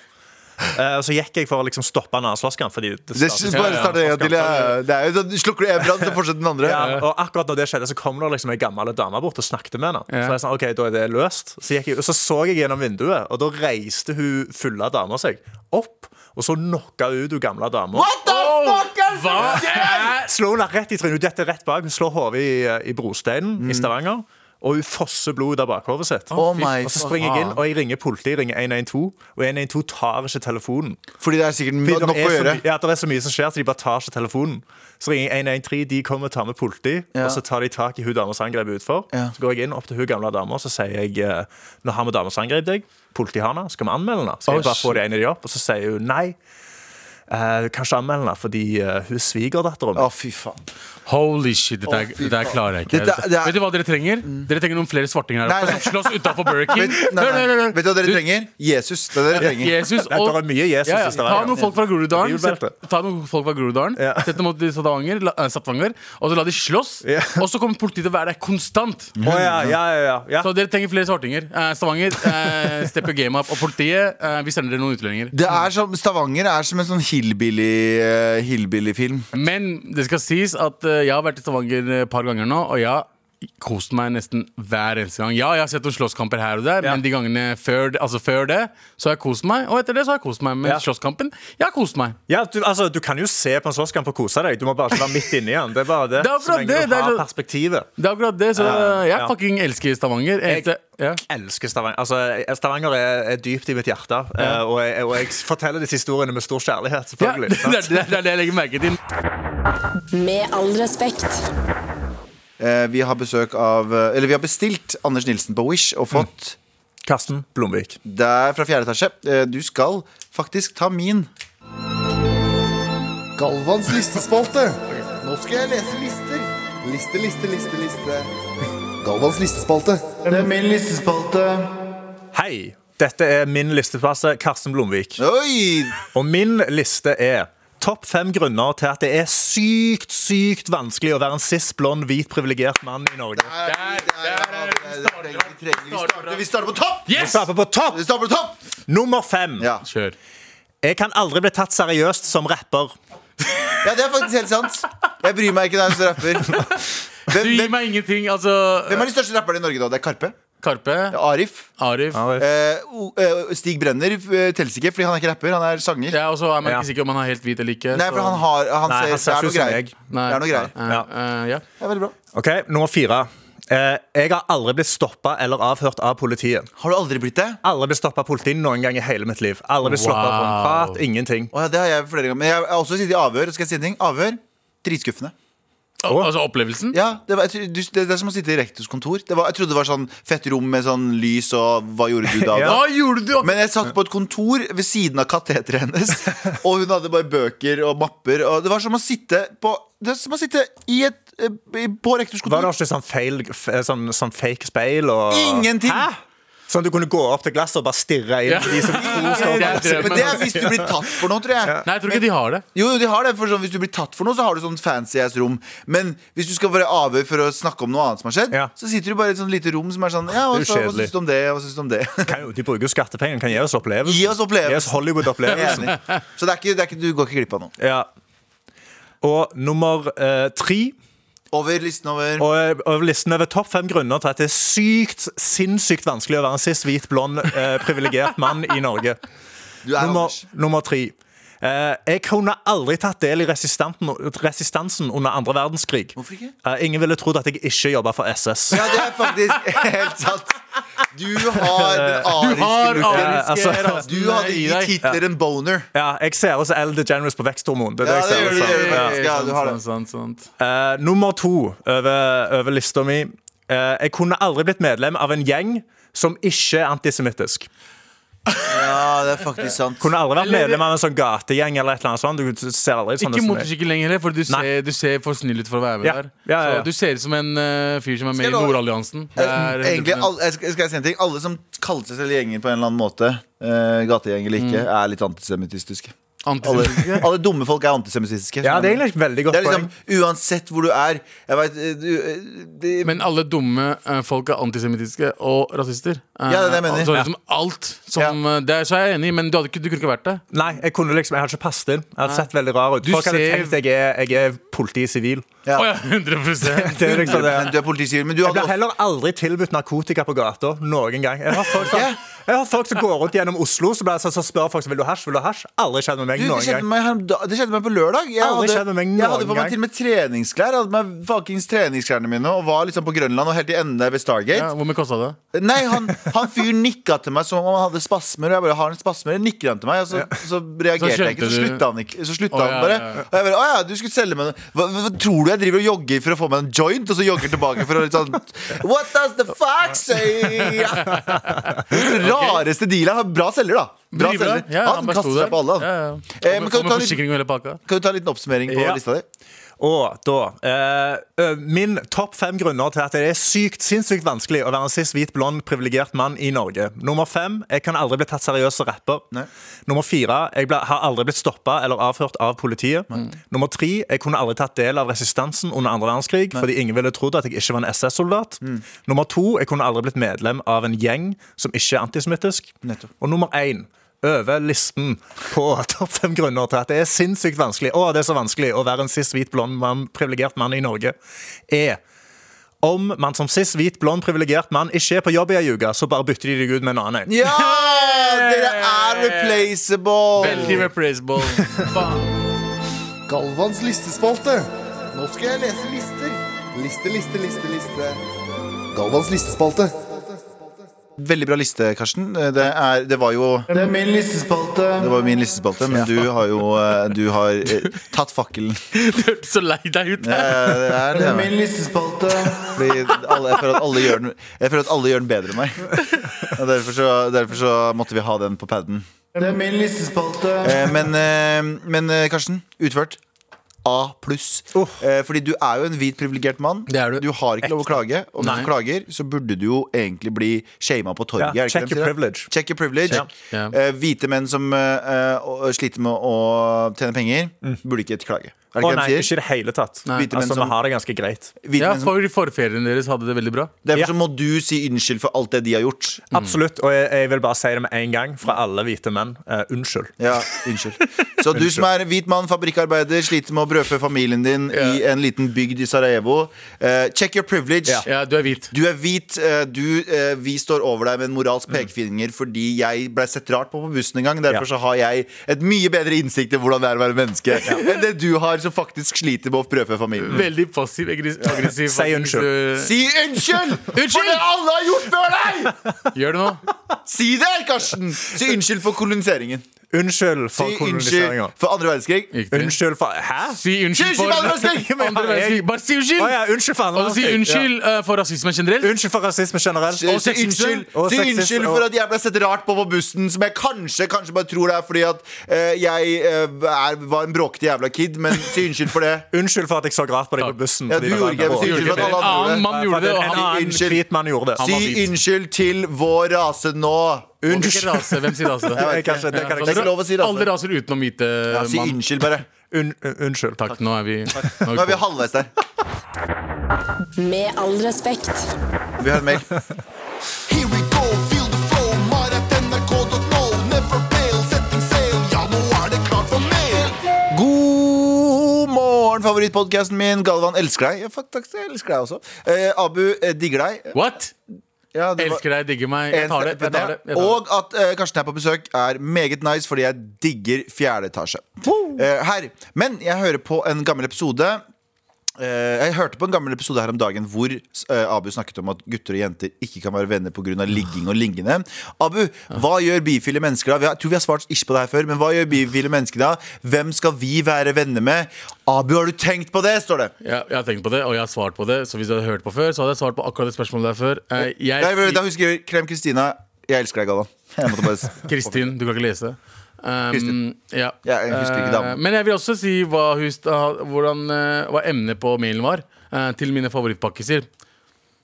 [SPEAKER 4] Eh, og så gikk jeg for å liksom stoppe en annen slåsskamp. Fordi det
[SPEAKER 2] Det,
[SPEAKER 4] startet-
[SPEAKER 2] bare start en gang til. Ja. Det er jo sånn, slukker du en brann, så fortsetter den andre.
[SPEAKER 4] Ja, og akkurat når det skjedde, så kom det liksom ei gammel dame bort og snakket med henne.
[SPEAKER 3] Ja.
[SPEAKER 4] Så jeg sa, ok, da er det løst så, gikk jeg, og så så jeg gjennom vinduet, og da reiste hun fulle av damer seg opp. Og så knocka hun ut hun gamle dama.
[SPEAKER 3] Hva er
[SPEAKER 4] Slo henne rett i trynet. Hun detter rett bak. Hun slår hodet i, eh, i brosteinen
[SPEAKER 2] Mm.
[SPEAKER 4] i Stavanger. Og hun fosser blod ut av bakhodet sitt.
[SPEAKER 2] Oh my
[SPEAKER 4] og så
[SPEAKER 2] fuck.
[SPEAKER 4] springer jeg inn, og jeg ringer politiet. Jeg ringer 112, og 112 tar ikke telefonen.
[SPEAKER 2] Fordi det er sikkert
[SPEAKER 4] Fordi
[SPEAKER 2] no-
[SPEAKER 4] det
[SPEAKER 2] nok å
[SPEAKER 4] er, så
[SPEAKER 2] gjøre.
[SPEAKER 4] my- ja, det er så mye som skjer, så de bare tar ikke telefonen. Så ringer jeg 113, de kommer og tar med politi.
[SPEAKER 2] Ja.
[SPEAKER 4] Og så tar de tak i hun dama som angrep utfor.
[SPEAKER 2] Ja.
[SPEAKER 4] Så går jeg inn opp til hun gamle dama og så sier jeg eh, Nå har vi dama som angrep deg. Politiet har henne. Skal vi anmelde henne? Skal
[SPEAKER 3] Å,
[SPEAKER 4] jeg bare få de ene de opp? Og så sier hun nei. Eh, du kan ikke anmelde henne fordi eh, hun er
[SPEAKER 2] Å,
[SPEAKER 4] svigerdatteren min.
[SPEAKER 2] fy faen.
[SPEAKER 3] Holy shit, dette, er, dette er klarer jeg ikke.
[SPEAKER 2] Dette er- det er- Mm.
[SPEAKER 3] Vet du hva dere trenger? Dere trenger noen flere svartinger her
[SPEAKER 2] Nei,
[SPEAKER 3] oppe
[SPEAKER 2] nei.
[SPEAKER 3] som slåss utafor Burger King.
[SPEAKER 2] Nei, nei. Vet du hva dere
[SPEAKER 3] Du-
[SPEAKER 2] trenger? Jesus. Det er det dere trenger.
[SPEAKER 3] Jesus
[SPEAKER 4] Det er
[SPEAKER 3] og
[SPEAKER 4] bare mye Jesus
[SPEAKER 3] ja, ja.
[SPEAKER 4] i
[SPEAKER 3] Ta noen
[SPEAKER 4] Stavanger.
[SPEAKER 3] folk fra Groruddalen
[SPEAKER 4] Det er jordbeltet.
[SPEAKER 3] sett- Ta noen folk fra Groruddalen
[SPEAKER 4] Ja.
[SPEAKER 3] Sett dem mot Stavanger, la, eh, Stavanger Og så la de slåss
[SPEAKER 4] Ja.
[SPEAKER 3] Og så kommer politiet til å være der konstant
[SPEAKER 4] Å, ja, ja, ja, ja.
[SPEAKER 3] Så dere trenger flere svartinger Eh, Stavanger, uh, steppe game up Og politiet, eh, vi sender dere noen utlendinger
[SPEAKER 2] Det er som, Stavanger er som en sånn hillbilly, eh, hillbilly-film.
[SPEAKER 3] Men det skal sies at eh, jeg har vært i Stavanger et par ganger nå Og jeg har kost meg nesten hver eneste gang Ja, jeg har sett noen slåsskamper her og der
[SPEAKER 4] Ja.
[SPEAKER 3] Men de gangene før, det- altså før det Så har jeg kost meg Og etter det så har jeg kost meg Men
[SPEAKER 4] Ja.
[SPEAKER 3] slåsskampen, jeg har kost meg
[SPEAKER 4] Ja, du, altså, du kan jo se på en slåsskamp og kose deg. Du må bare ikke være midt inni den. Det er bare det.
[SPEAKER 3] Det er akkurat
[SPEAKER 4] Så lenge
[SPEAKER 3] det,
[SPEAKER 4] du
[SPEAKER 3] det er
[SPEAKER 4] har
[SPEAKER 3] så-
[SPEAKER 4] perspektivet.
[SPEAKER 3] Det er akkurat det, så
[SPEAKER 4] Ja,
[SPEAKER 3] jeg
[SPEAKER 4] ja.
[SPEAKER 3] fucking elsker Stavanger. Eneste, ja.
[SPEAKER 4] elsker Stavanger. Altså, Stavanger er, er dypt i mitt hjerte. eh, Og, jeg, og jeg forteller disse historiene med stor kjærlighet.
[SPEAKER 3] Ja,
[SPEAKER 4] selvfølgelig
[SPEAKER 3] det, er, det, er, det er det jeg legger merke til.
[SPEAKER 5] Med all respekt.
[SPEAKER 2] Eh, vi har besøk av eh, Eller vi har bestilt Anders Nilsen på Wish og fått
[SPEAKER 4] Karsten Blomvik.
[SPEAKER 2] Det er fra fjerde etasje. Eh, Du skal faktisk ta min.
[SPEAKER 6] Galvans listespalte. Nå skal jeg lese lister. Liste, liste, liste, liste. Galvans listespalte.
[SPEAKER 2] Det er min listespalte.
[SPEAKER 4] Hei! Dette er min listepasse, Karsten Blomvik.
[SPEAKER 2] Oi!
[SPEAKER 4] Og min liste er Topp fem grunner til at det er sykt sykt vanskelig å være en cis, blond, hvit, privilegert mann i Norge.
[SPEAKER 2] Der, der, der, Vi starter- vi starter på topp!
[SPEAKER 4] Vi starter på topp!
[SPEAKER 2] Vi starter på topp!
[SPEAKER 4] Nummer fem.
[SPEAKER 2] Ja.
[SPEAKER 3] Kjør.
[SPEAKER 4] Jeg kan aldri bli tatt seriøst som rapper.
[SPEAKER 2] ja, det er faktisk helt sant. Jeg bryr meg ikke når jeg står rapper.
[SPEAKER 3] Du
[SPEAKER 2] Hvem,
[SPEAKER 3] gir
[SPEAKER 2] hvem,
[SPEAKER 3] meg ingenting. Altså
[SPEAKER 2] hvem er de største rapperne i Norge, da? Det er Karpe.
[SPEAKER 3] Karpe,
[SPEAKER 2] Arif.
[SPEAKER 3] Arif
[SPEAKER 2] Eh, o- eh, Stig Brenner eh, teller ikke, fordi han er ikke rapper, han er sanger.
[SPEAKER 3] Ja, Og så er man
[SPEAKER 4] Ja.
[SPEAKER 3] ikke sikker om han er helt hvit eller ikke.
[SPEAKER 2] Nei,
[SPEAKER 3] så-
[SPEAKER 2] for han har Han,
[SPEAKER 4] Nei,
[SPEAKER 2] ser,
[SPEAKER 4] han
[SPEAKER 2] det
[SPEAKER 4] ser
[SPEAKER 2] er
[SPEAKER 4] ikke
[SPEAKER 2] noe
[SPEAKER 4] ut som
[SPEAKER 2] greier.
[SPEAKER 4] meg.
[SPEAKER 3] Nei.
[SPEAKER 2] Det er noe greier.
[SPEAKER 3] Eh, eh, ja.
[SPEAKER 2] Det er veldig bra.
[SPEAKER 4] Ok, Nummer fire. Eh, jeg har aldri blitt stoppa eller avhørt av politiet.
[SPEAKER 2] Har du aldri blitt det?
[SPEAKER 4] Aldri blitt stoppa av politiet noen gang i hele mitt liv. Aldri blitt stoppet for en
[SPEAKER 3] Wow.
[SPEAKER 4] prat, ingenting
[SPEAKER 2] Å, ja, det har jeg flere ganger. Men jeg har også sittet i avhør. Skal jeg si en ting? Avhør. Dritskuffende.
[SPEAKER 3] Al- Altså opplevelsen?
[SPEAKER 2] Ja, det, var, jeg, tror- du, det, det er som å sitte i rektors kontor. Det var, jeg trodde det var sånn fett rom med sånn lys og hva gjorde du da? da?
[SPEAKER 3] Hva gjorde du?
[SPEAKER 2] Men jeg satt på et kontor ved siden av kateteret hennes, og hun hadde bare bøker og mapper. Og det var som å sitte på Det er som å sitte i et, eh, i- på rektors
[SPEAKER 4] Var det
[SPEAKER 2] kontor.
[SPEAKER 4] ikke sånn, feil, f- sånn, sånn fake speil? Og...
[SPEAKER 2] Ingenting!
[SPEAKER 4] Sånn at du kunne gå opp til glasset og bare stirre inn
[SPEAKER 3] Ja.
[SPEAKER 4] på de som tror
[SPEAKER 3] Det er
[SPEAKER 4] står bak.
[SPEAKER 3] drømmen.
[SPEAKER 2] Men det er hvis du blir tatt for noe, tror jeg.
[SPEAKER 3] Nei, jeg tror ikke de har det.
[SPEAKER 2] Jo, jo, de har det, for sånn, Hvis du blir tatt for noe, så har du sånn fancy ass rom. Men hvis du skal bare avhøre for å snakke om noe annet som har skjedd,
[SPEAKER 4] Ja.
[SPEAKER 2] så sitter du bare i et sånt lite rom som er sånn Ja, hva,
[SPEAKER 4] Det er jo
[SPEAKER 2] så- hva
[SPEAKER 4] kjedelig.
[SPEAKER 2] syns du om det? Hva syns du om det?
[SPEAKER 4] Kan jo- De bruker jo skattepenger, kan gi oss opplevelsen.
[SPEAKER 2] Gi oss opplevelsen.
[SPEAKER 4] Gi oss Hollywood-opplevelsen.
[SPEAKER 2] Enig. Så det er ikke, det er ikke, du går ikke glipp av noe.
[SPEAKER 4] ja. Og nummer eh, tre
[SPEAKER 2] Over listen over.
[SPEAKER 4] og, eh, og listen over topp fem grunner til at det er sykt, sinnssykt vanskelig å være en sist hvit, blond, eh, privilegert mann i Norge.
[SPEAKER 2] Du er
[SPEAKER 4] Nummer,
[SPEAKER 2] Anders.
[SPEAKER 4] nummer tre. Eh, jeg kunne aldri tatt del i resistanten, resistansen under andre verdenskrig.
[SPEAKER 2] Hvorfor ikke?
[SPEAKER 4] Eh, ingen ville trodd at jeg ikke jobba for SS.
[SPEAKER 2] Ja, det er faktisk helt sant. Du har den
[SPEAKER 3] Du har
[SPEAKER 2] ariske looken.
[SPEAKER 4] Ja, altså,
[SPEAKER 3] ariske rasene
[SPEAKER 2] Du hadde
[SPEAKER 3] i
[SPEAKER 2] gitt
[SPEAKER 3] deg.
[SPEAKER 2] Hitler en boner.
[SPEAKER 4] Ja, jeg ser også Elle DeGeneres på veksthormon. Det er det
[SPEAKER 2] Ja, det
[SPEAKER 4] jeg ser
[SPEAKER 2] gjør det,
[SPEAKER 4] også.
[SPEAKER 2] det gjør
[SPEAKER 4] Ja.
[SPEAKER 2] det. Ja, du har det.
[SPEAKER 3] Sant, sant, sant.
[SPEAKER 4] Eh, nummer to over, over lista mi. Eh, jeg kunne aldri blitt medlem av en gjeng som ikke er antisemittisk.
[SPEAKER 2] Ja, det er faktisk sant.
[SPEAKER 4] Kunne aldri vært
[SPEAKER 3] Eller-
[SPEAKER 4] medlem av en sånn gategjeng eller et eller annet sånt. Du ser aldri sånn
[SPEAKER 3] Ikke motorsykkel lenger, for du
[SPEAKER 4] Nei.
[SPEAKER 3] ser, du ser for snill ut for å være med
[SPEAKER 4] Ja.
[SPEAKER 3] der.
[SPEAKER 4] Ja, ja, ja.
[SPEAKER 3] Så du ser ut som en eh, fyr som er med
[SPEAKER 2] Skal jeg
[SPEAKER 3] i
[SPEAKER 2] love-
[SPEAKER 3] Nordalliansen. Det er
[SPEAKER 2] Eh, Egentlig,
[SPEAKER 3] 100%.
[SPEAKER 2] alle, jeg skal, skal jeg si en ting? alle som kaller seg selv gjenger på en eller annen måte, eh, gategjeng eller ikke,
[SPEAKER 4] Mm.
[SPEAKER 2] er litt antisemittistiske. Alle,
[SPEAKER 3] Antisemittiske.
[SPEAKER 2] alle dumme folk er antisemittistiske.
[SPEAKER 4] Ja, det er egentlig et veldig godt
[SPEAKER 2] Det er liksom, Uansett hvor du er jeg vet, eh, du, eh, det,
[SPEAKER 3] Men alle dumme eh, folk er antisemittiske og rasister. Eh,
[SPEAKER 2] Ja, det er det jeg mener.
[SPEAKER 3] altså liksom alt som eh, det er, Så er jeg enig, men du, hadde ikke, du kunne ikke vært det.
[SPEAKER 4] Nei, jeg kunne liksom, jeg hadde ikke passet inn. Jeg hadde sett veldig rar ut.
[SPEAKER 3] Du
[SPEAKER 4] Folk hadde
[SPEAKER 3] ser-
[SPEAKER 4] tenkt jeg er, jeg er politi sivil.
[SPEAKER 2] Ja.
[SPEAKER 3] Å ja, 100
[SPEAKER 4] Det er liksom det.
[SPEAKER 2] Men du er politisivil, men du
[SPEAKER 4] Jeg
[SPEAKER 2] hadde
[SPEAKER 4] blir heller aldri tilbudt narkotika på gata noen gang. Jeg har folk som,
[SPEAKER 2] Ja.
[SPEAKER 4] jeg har folk som går rundt gjennom Oslo Så blir jeg sånn, så spør folk som vil du ha hasj. Vil du ha hasj? Aldri skjedd med meg
[SPEAKER 2] Du, det
[SPEAKER 4] noen
[SPEAKER 2] skjedde
[SPEAKER 4] gang.
[SPEAKER 2] meg, her om da- det skjedde meg på lørdag. Jeg
[SPEAKER 4] Aldri
[SPEAKER 2] hadde,
[SPEAKER 4] skjedde meg
[SPEAKER 2] jeg hadde
[SPEAKER 4] noen
[SPEAKER 2] på meg
[SPEAKER 4] gang.
[SPEAKER 2] til og med treningsklær. Jeg hadde på meg fuckings treningsklærne mine og var liksom på Grønland og helt i enden der ved Stargate.
[SPEAKER 3] ja, Hvor mye kosta det?
[SPEAKER 2] Nei, han, han fyren nikka til meg som om han hadde spasmer. Og jeg bare har han spasmer, eller nikker han til meg. Og så, så reagerte
[SPEAKER 3] Så
[SPEAKER 2] jeg ikke. Så
[SPEAKER 3] skjønte du-
[SPEAKER 2] slutta han ikke. Så slutta
[SPEAKER 3] Å,
[SPEAKER 2] han
[SPEAKER 3] ja,
[SPEAKER 2] bare.
[SPEAKER 3] ja, ja.
[SPEAKER 2] Og jeg bare, å ja, du skulle selge meg noe. Hva, hva, tror du jeg driver og jogger for å få meg en joint, og så jogger tilbake for å litt sånn What does the fuck say? Den rareste dealen. Han er Bra selger, da. Bra
[SPEAKER 3] Driver
[SPEAKER 2] selger.
[SPEAKER 3] det? Ja,
[SPEAKER 2] han
[SPEAKER 3] bare sto
[SPEAKER 2] kaster
[SPEAKER 3] der.
[SPEAKER 2] seg på alle,
[SPEAKER 3] Ja,
[SPEAKER 2] han.
[SPEAKER 3] ja.
[SPEAKER 2] Eh, men
[SPEAKER 3] Og
[SPEAKER 2] kan
[SPEAKER 3] med- og
[SPEAKER 2] du ta
[SPEAKER 3] med
[SPEAKER 2] litt-
[SPEAKER 3] forsikring og hele pakka.
[SPEAKER 2] Kan du ta en liten oppsummering på
[SPEAKER 4] Ja.
[SPEAKER 2] lista di?
[SPEAKER 4] Og da eh, ø, Min topp fem grunner til at det er sykt sinnssykt vanskelig å være en cis, hvit, blond, privilegert mann i Norge. Nummer fem jeg kan aldri bli tatt seriøst som rapper.
[SPEAKER 2] Nei.
[SPEAKER 4] Nummer fire jeg ble, har aldri blitt stoppa eller avført av politiet. Nummer tre jeg kunne aldri tatt del av resistansen under andre verdenskrig fordi ingen ville trodd at jeg ikke var en SS-soldat. Nummer to jeg kunne aldri blitt medlem av en gjeng som ikke er antisemittisk.
[SPEAKER 2] Nettopp.
[SPEAKER 4] Og nummer én over listen på topp fem grunner til at det er sinnssykt vanskelig Å, det er så vanskelig å være en cis, hvit, blond, mann, privilegert mann i Norge, er om man som cis, hvit, blond, privilegert mann ikke er på jobb i ei uke, så bare bytter de deg ut med en annen.
[SPEAKER 2] Ja! Dere er replaceable!
[SPEAKER 3] Veldig replaceable. Faen.
[SPEAKER 6] Galvans listespalte. Nå skal jeg lese lister. Liste, liste, liste, liste. Galvans listespalte.
[SPEAKER 2] Veldig bra liste, Karsten. Det, er, det var jo Det er min listespalte. Det var jo min listespalte, men du har jo eh, Du har eh, tatt fakkelen.
[SPEAKER 3] Du hørtes så lei deg ut.
[SPEAKER 2] Eh,
[SPEAKER 3] der.
[SPEAKER 2] Det er, det er min listespalte. Fordi alle, jeg, føler at alle gjør den, jeg føler at alle gjør den bedre enn meg. Og derfor, så, derfor så måtte vi ha den på paden. Det er min listespalte. Men, eh, men eh, Karsten, utført. A pluss. Eh, Fordi du er jo en hvit, privilegert mann.
[SPEAKER 3] Det er du.
[SPEAKER 2] har ikke lov å klage. Og hvis
[SPEAKER 3] Nei.
[SPEAKER 2] du klager, så burde du jo egentlig bli shama på torget. er
[SPEAKER 4] Ja,
[SPEAKER 2] det ikke det
[SPEAKER 4] check
[SPEAKER 2] de
[SPEAKER 4] your
[SPEAKER 2] sier?
[SPEAKER 4] privilege.
[SPEAKER 2] Check your privilege.
[SPEAKER 4] Check.
[SPEAKER 3] Ja.
[SPEAKER 2] Eh, hvite menn som eh, eh, og- sliter med å tjene penger, burde ikke klage. Er det
[SPEAKER 4] Å
[SPEAKER 2] ikke
[SPEAKER 4] nei,
[SPEAKER 2] det de
[SPEAKER 4] ikke
[SPEAKER 2] sier?
[SPEAKER 4] i det hele tatt.
[SPEAKER 3] Nei.
[SPEAKER 2] Hvite menn
[SPEAKER 4] Altså,
[SPEAKER 2] som-
[SPEAKER 4] vi har det ganske greit.
[SPEAKER 2] Hvite
[SPEAKER 3] Ja,
[SPEAKER 2] menn som,
[SPEAKER 3] for forfedrene deres hadde det veldig bra.
[SPEAKER 2] derfor
[SPEAKER 4] Ja.
[SPEAKER 2] så må du si unnskyld for alt det de har gjort.
[SPEAKER 4] Absolutt. Og jeg, jeg vil bare si det med en gang fra alle hvite menn. Eh, unnskyld.
[SPEAKER 2] Ja, unnskyld. Så du som er hvit mann, fabrikkarbeider, sliter med å brødfø familien din i en liten bygd i Sarajevo, eh, check your privilege.
[SPEAKER 3] Ja, du er hvit.
[SPEAKER 2] Du er hvit. eh, Du, eh, vi står over deg med en moralsk pekefinger fordi jeg ble sett rart på på bussen en gang. Derfor
[SPEAKER 4] Ja.
[SPEAKER 2] så har jeg et mye bedre innsikt i hvordan det er å være menneske enn det du har, som faktisk sliter med å brødfø familien.
[SPEAKER 3] Veldig passiv aggres- aggressiv.
[SPEAKER 4] Si
[SPEAKER 3] faktisk. eh,
[SPEAKER 4] unnskyld.
[SPEAKER 2] Si unnskyld! For
[SPEAKER 3] Unnskyld!
[SPEAKER 2] det alle har gjort før deg!
[SPEAKER 3] Du- Gjør det nå.
[SPEAKER 2] Si det, Karsten! Si unnskyld for koloniseringen.
[SPEAKER 4] Unnskyld for
[SPEAKER 2] Si unnskyld
[SPEAKER 4] koloniseringa.
[SPEAKER 2] for andre verdenskrig.
[SPEAKER 3] Riktig.
[SPEAKER 4] Unnskyld for Hæ?
[SPEAKER 3] Si unnskyld
[SPEAKER 2] Unnskyld
[SPEAKER 3] for
[SPEAKER 2] for andre verdenskrig!
[SPEAKER 4] Men
[SPEAKER 3] andre verdenskrig. Bare si
[SPEAKER 4] Å ja,
[SPEAKER 3] unnskyld!
[SPEAKER 4] unnskyld for andre
[SPEAKER 3] Og si
[SPEAKER 4] verdenskrig.
[SPEAKER 3] unnskyld eh, for rasisme
[SPEAKER 4] Ja.
[SPEAKER 3] generelt.
[SPEAKER 4] Unnskyld for rasisme generelt.
[SPEAKER 2] Si
[SPEAKER 4] Og sexisme.
[SPEAKER 2] unnskyld,
[SPEAKER 4] Og
[SPEAKER 2] si
[SPEAKER 4] sexisme.
[SPEAKER 2] unnskyld
[SPEAKER 4] Og-
[SPEAKER 2] for at jeg ble sett rart på på bussen, som jeg kanskje kanskje bare tror det er fordi at eh, jeg eh, er, var en bråkete jævla kid, men si unnskyld for det.
[SPEAKER 4] Unnskyld for at jeg så rart på deg på bussen.
[SPEAKER 2] Ja,
[SPEAKER 4] fordi
[SPEAKER 2] du
[SPEAKER 4] det var
[SPEAKER 2] gjorde ikke det,
[SPEAKER 4] en
[SPEAKER 2] men si
[SPEAKER 4] vår.
[SPEAKER 2] unnskyld for at
[SPEAKER 3] En
[SPEAKER 2] alle andre gjorde det.
[SPEAKER 3] annen mann gjorde det, og
[SPEAKER 4] En
[SPEAKER 3] han
[SPEAKER 4] annen
[SPEAKER 2] Unnskyld.
[SPEAKER 4] hvit mann gjorde det.
[SPEAKER 3] Han- var
[SPEAKER 2] Si
[SPEAKER 3] hvit.
[SPEAKER 2] unnskyld til vår rase nå.
[SPEAKER 3] Unnskyld. Rase. Hvem sier rase?
[SPEAKER 4] Jeg vet ikke, kanskje- det kan jeg
[SPEAKER 2] Det er
[SPEAKER 4] ikke
[SPEAKER 2] ikke lov å si rase.
[SPEAKER 3] Alle raser utenom hvite
[SPEAKER 2] Ja, si
[SPEAKER 3] mann.
[SPEAKER 2] unnskyld, bare.
[SPEAKER 4] Un- un- Unnskyld.
[SPEAKER 3] Takk, nå er vi
[SPEAKER 2] Nå er vi halvveis der.
[SPEAKER 5] Med all respekt.
[SPEAKER 2] Vi har en mail.
[SPEAKER 7] Here we go, feel the flow. Mar.nrk.no. Never fail, setting sail. Ja, nå er det klart for mail.
[SPEAKER 2] God morgen, favorittpodkasten min. Galvan elsker deg. Ja, fuck, takk, jeg elsker deg også. Eh, Abu eh, digger deg.
[SPEAKER 3] What?
[SPEAKER 2] Ja, det var-
[SPEAKER 3] Elsker deg, digger meg. Jeg tar det. Jeg tar det. Jeg tar det.
[SPEAKER 2] Og at eh, Karsten er på besøk er meget nice, fordi jeg digger fjerde etasje. Eh, her. Men jeg hører på en gammel episode. eh, jeg hørte på en gammel episode her om dagen hvor eh, Abu snakket om at gutter og jenter ikke kan være venner pga. ligging og lignende. Abu, hva gjør bifile mennesker da? Vi har, jeg tror vi har svart ikke på det her før, men hva gjør bifile mennesker da? Hvem skal vi være venner med? Abu, har du tenkt på det? står det.
[SPEAKER 3] Ja, jeg har tenkt på det, og jeg har svart på det. Så hvis du hadde hørt på før, så hadde jeg svart på akkurat det spørsmålet der før. Eh,
[SPEAKER 2] Nei,
[SPEAKER 3] Jeg,
[SPEAKER 2] da husker jeg Krem Kristina Jeg elsker deg, Galvan. Jeg måtte bare s-
[SPEAKER 3] Kristin, du kan ikke lese. Um,
[SPEAKER 2] Kristin.
[SPEAKER 3] ja.
[SPEAKER 2] Ja, jeg husker ikke damen.
[SPEAKER 3] Eh, Men jeg vil også si hva, hun sta- hvordan, eh, hva emnet på mailen var eh, til mine favorittpakkiser.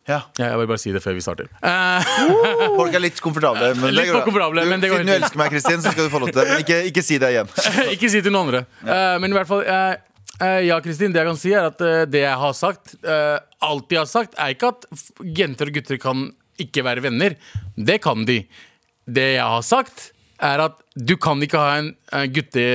[SPEAKER 2] ja.
[SPEAKER 3] Ja, jeg vil bare si det før vi starter. Eh,
[SPEAKER 2] Folk er litt komfortable. Men
[SPEAKER 3] Litt
[SPEAKER 2] det går bra.
[SPEAKER 3] komfortable, men det går
[SPEAKER 2] Siden du
[SPEAKER 3] helt fint.
[SPEAKER 2] elsker meg, Kristin, så skal du få lov til det. Men ikke, ikke si det igjen.
[SPEAKER 3] ikke si til noen andre. Eh, men i hvert fall, eh, eh, ja, Kristin, det jeg kan si, er at eh, det jeg har sagt, eh, alt jeg har sagt, er ikke at f- jenter og gutter kan ikke være venner. Det kan de. Det jeg har sagt, er at du kan ikke ha en uh,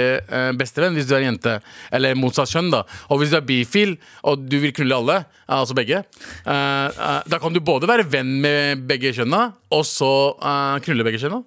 [SPEAKER 3] gutte-bestevenn hvis du er jente. Eller motsatt kjønn, da. Og hvis du er bifil og du vil knulle alle, eh, altså begge, eh, eh, da kan du både være venn med begge kjønna, og så eh, knulle begge kjønna.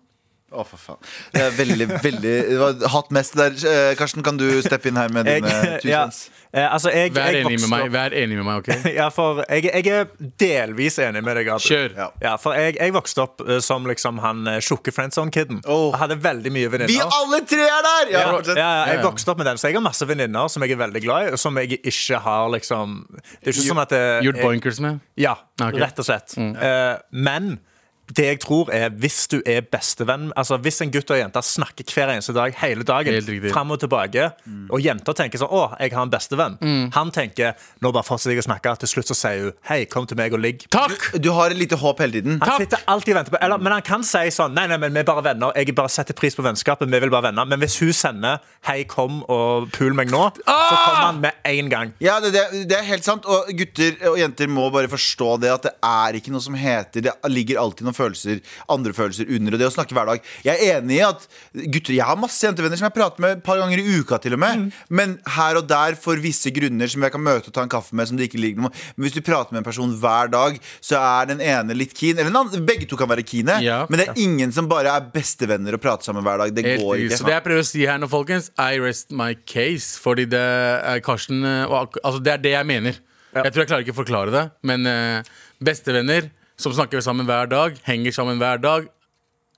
[SPEAKER 2] Å, for faen. Det er veldig, veldig det var Hatt mest der. Eh, Karsten, kan du steppe inn her med
[SPEAKER 4] Jeg,
[SPEAKER 2] dine
[SPEAKER 4] ja,
[SPEAKER 2] tusen's?
[SPEAKER 4] eh, altså, jeg,
[SPEAKER 3] Vær
[SPEAKER 4] jeg
[SPEAKER 3] enig med
[SPEAKER 4] vokste
[SPEAKER 3] meg,
[SPEAKER 4] opp-
[SPEAKER 3] vær enig med meg, OK?
[SPEAKER 4] Ja, for jeg, jeg er delvis enig med deg. Abu.
[SPEAKER 3] Kjør.
[SPEAKER 2] Ja.
[SPEAKER 4] Ja, for jeg, jeg vokste opp eh, som liksom han eh, tjukke friendzone-kiden.
[SPEAKER 2] Åh.
[SPEAKER 4] Jeg Hadde veldig mye
[SPEAKER 2] Vi
[SPEAKER 4] venninner.
[SPEAKER 2] alle tre er der! Ja,
[SPEAKER 4] Ja,
[SPEAKER 2] fortsett.
[SPEAKER 4] ja, jeg
[SPEAKER 3] Ja, ja.
[SPEAKER 4] vokste opp med den, så jeg har masse venninner som jeg er veldig glad i. og Som jeg ikke har liksom Det er ikke sånn at det-
[SPEAKER 3] Gjort
[SPEAKER 4] jeg-
[SPEAKER 3] boinkers med?
[SPEAKER 4] Ja,
[SPEAKER 3] Ok. Mm.
[SPEAKER 4] rett og slett. Eh, men det jeg tror er hvis du er bestevenn Altså hvis en gutt og en jente snakker hver eneste dag hele
[SPEAKER 3] Helt
[SPEAKER 4] dagen,
[SPEAKER 3] riktig.
[SPEAKER 4] fram og tilbake, og jenta tenker sånn 'Å, jeg har en bestevenn',
[SPEAKER 3] Mm.
[SPEAKER 4] han tenker 'Nå bare fortsetter jeg å snakke', til slutt så sier hun 'Hei, kom til meg og ligg'.
[SPEAKER 3] Takk!
[SPEAKER 2] Du har et lite håp hele tiden.
[SPEAKER 4] Han
[SPEAKER 3] Takk!
[SPEAKER 4] sitter alltid og venter på eller, Men han kan si sånn Nei, nei, men vi er bare venner. Jeg bare setter pris på vennskapet. Vi vil bare venner. Men hvis hun sender 'Hei, kom og pul meg nå', så
[SPEAKER 3] Ah!
[SPEAKER 4] kommer han med en gang.
[SPEAKER 2] Ja, det, det, det er helt sant. Og gutter og jenter må bare forstå det at det er ikke noe som heter Det ligger alltid noen følelser andre følelser under. Og det å snakke hver dag Jeg er enig i at gutter Jeg har masse jentevenner som jeg prater med et par ganger i uka, til og med.
[SPEAKER 3] Mm.
[SPEAKER 2] Men her og der, for visse grunner som jeg kan møte og ta en kaffe med, som det ikke ligger noe Men hvis du prater med en person hver dag, så er den ene litt keen. Eller den andre, begge to kan være keene.
[SPEAKER 3] Ja.
[SPEAKER 2] Men det er ingen som bare er bestevenner og prater sammen hver dag. Det
[SPEAKER 3] Helt
[SPEAKER 2] går
[SPEAKER 3] riktig.
[SPEAKER 2] ikke.
[SPEAKER 3] Så det jeg prøver å si her nå, folkens, I rest my case. Fordi det er Karsten eh, og ak- Altså, det er det jeg mener. Jeg tror jeg klarer ikke å forklare det, men eh, bestevenner som snakker sammen hver dag, henger sammen hver dag.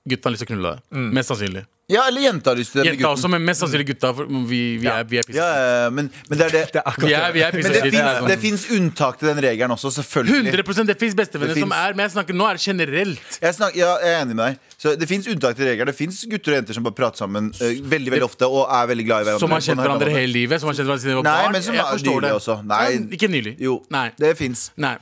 [SPEAKER 3] Gutta har lyst til å knulle deg. Mest sannsynlig.
[SPEAKER 2] Ja, eller jenta har lyst til det. med
[SPEAKER 3] Jenta
[SPEAKER 2] gutten.
[SPEAKER 3] også, men mest sannsynlig gutta. For vi, vi er, vi er
[SPEAKER 2] Ja,
[SPEAKER 3] pissed.
[SPEAKER 2] ja, ja, men, men det er det.
[SPEAKER 4] Det er akkurat
[SPEAKER 3] Vi er, vi er
[SPEAKER 2] Men
[SPEAKER 3] pissed.
[SPEAKER 2] det
[SPEAKER 3] Det er
[SPEAKER 2] fins- det
[SPEAKER 3] sånn.
[SPEAKER 2] fins unntak til den regelen også, selvfølgelig.
[SPEAKER 3] 100 Det fins bestevenner
[SPEAKER 2] Det
[SPEAKER 3] som
[SPEAKER 2] finnes.
[SPEAKER 3] er Men jeg snakker, nå er det generelt.
[SPEAKER 2] Jeg, snak, ja, jeg er enig med deg. Så Det fins unntak til regelen. Det fins gutter og jenter som bare prater sammen eh, veldig veldig ofte og er veldig glad i hverandre.
[SPEAKER 3] Som har
[SPEAKER 2] På den
[SPEAKER 3] kjent
[SPEAKER 2] her
[SPEAKER 3] hverandre
[SPEAKER 2] måten.
[SPEAKER 3] hele livet. Som har kjent hverandre siden de var
[SPEAKER 2] Nei,
[SPEAKER 3] barn.
[SPEAKER 2] men som
[SPEAKER 3] jeg
[SPEAKER 2] er
[SPEAKER 3] forstår
[SPEAKER 2] nylig
[SPEAKER 3] det.
[SPEAKER 2] også. Nei.
[SPEAKER 3] Ja, Ikke nylig.
[SPEAKER 2] Jo,
[SPEAKER 3] Nei.
[SPEAKER 2] det fins.
[SPEAKER 3] Nei.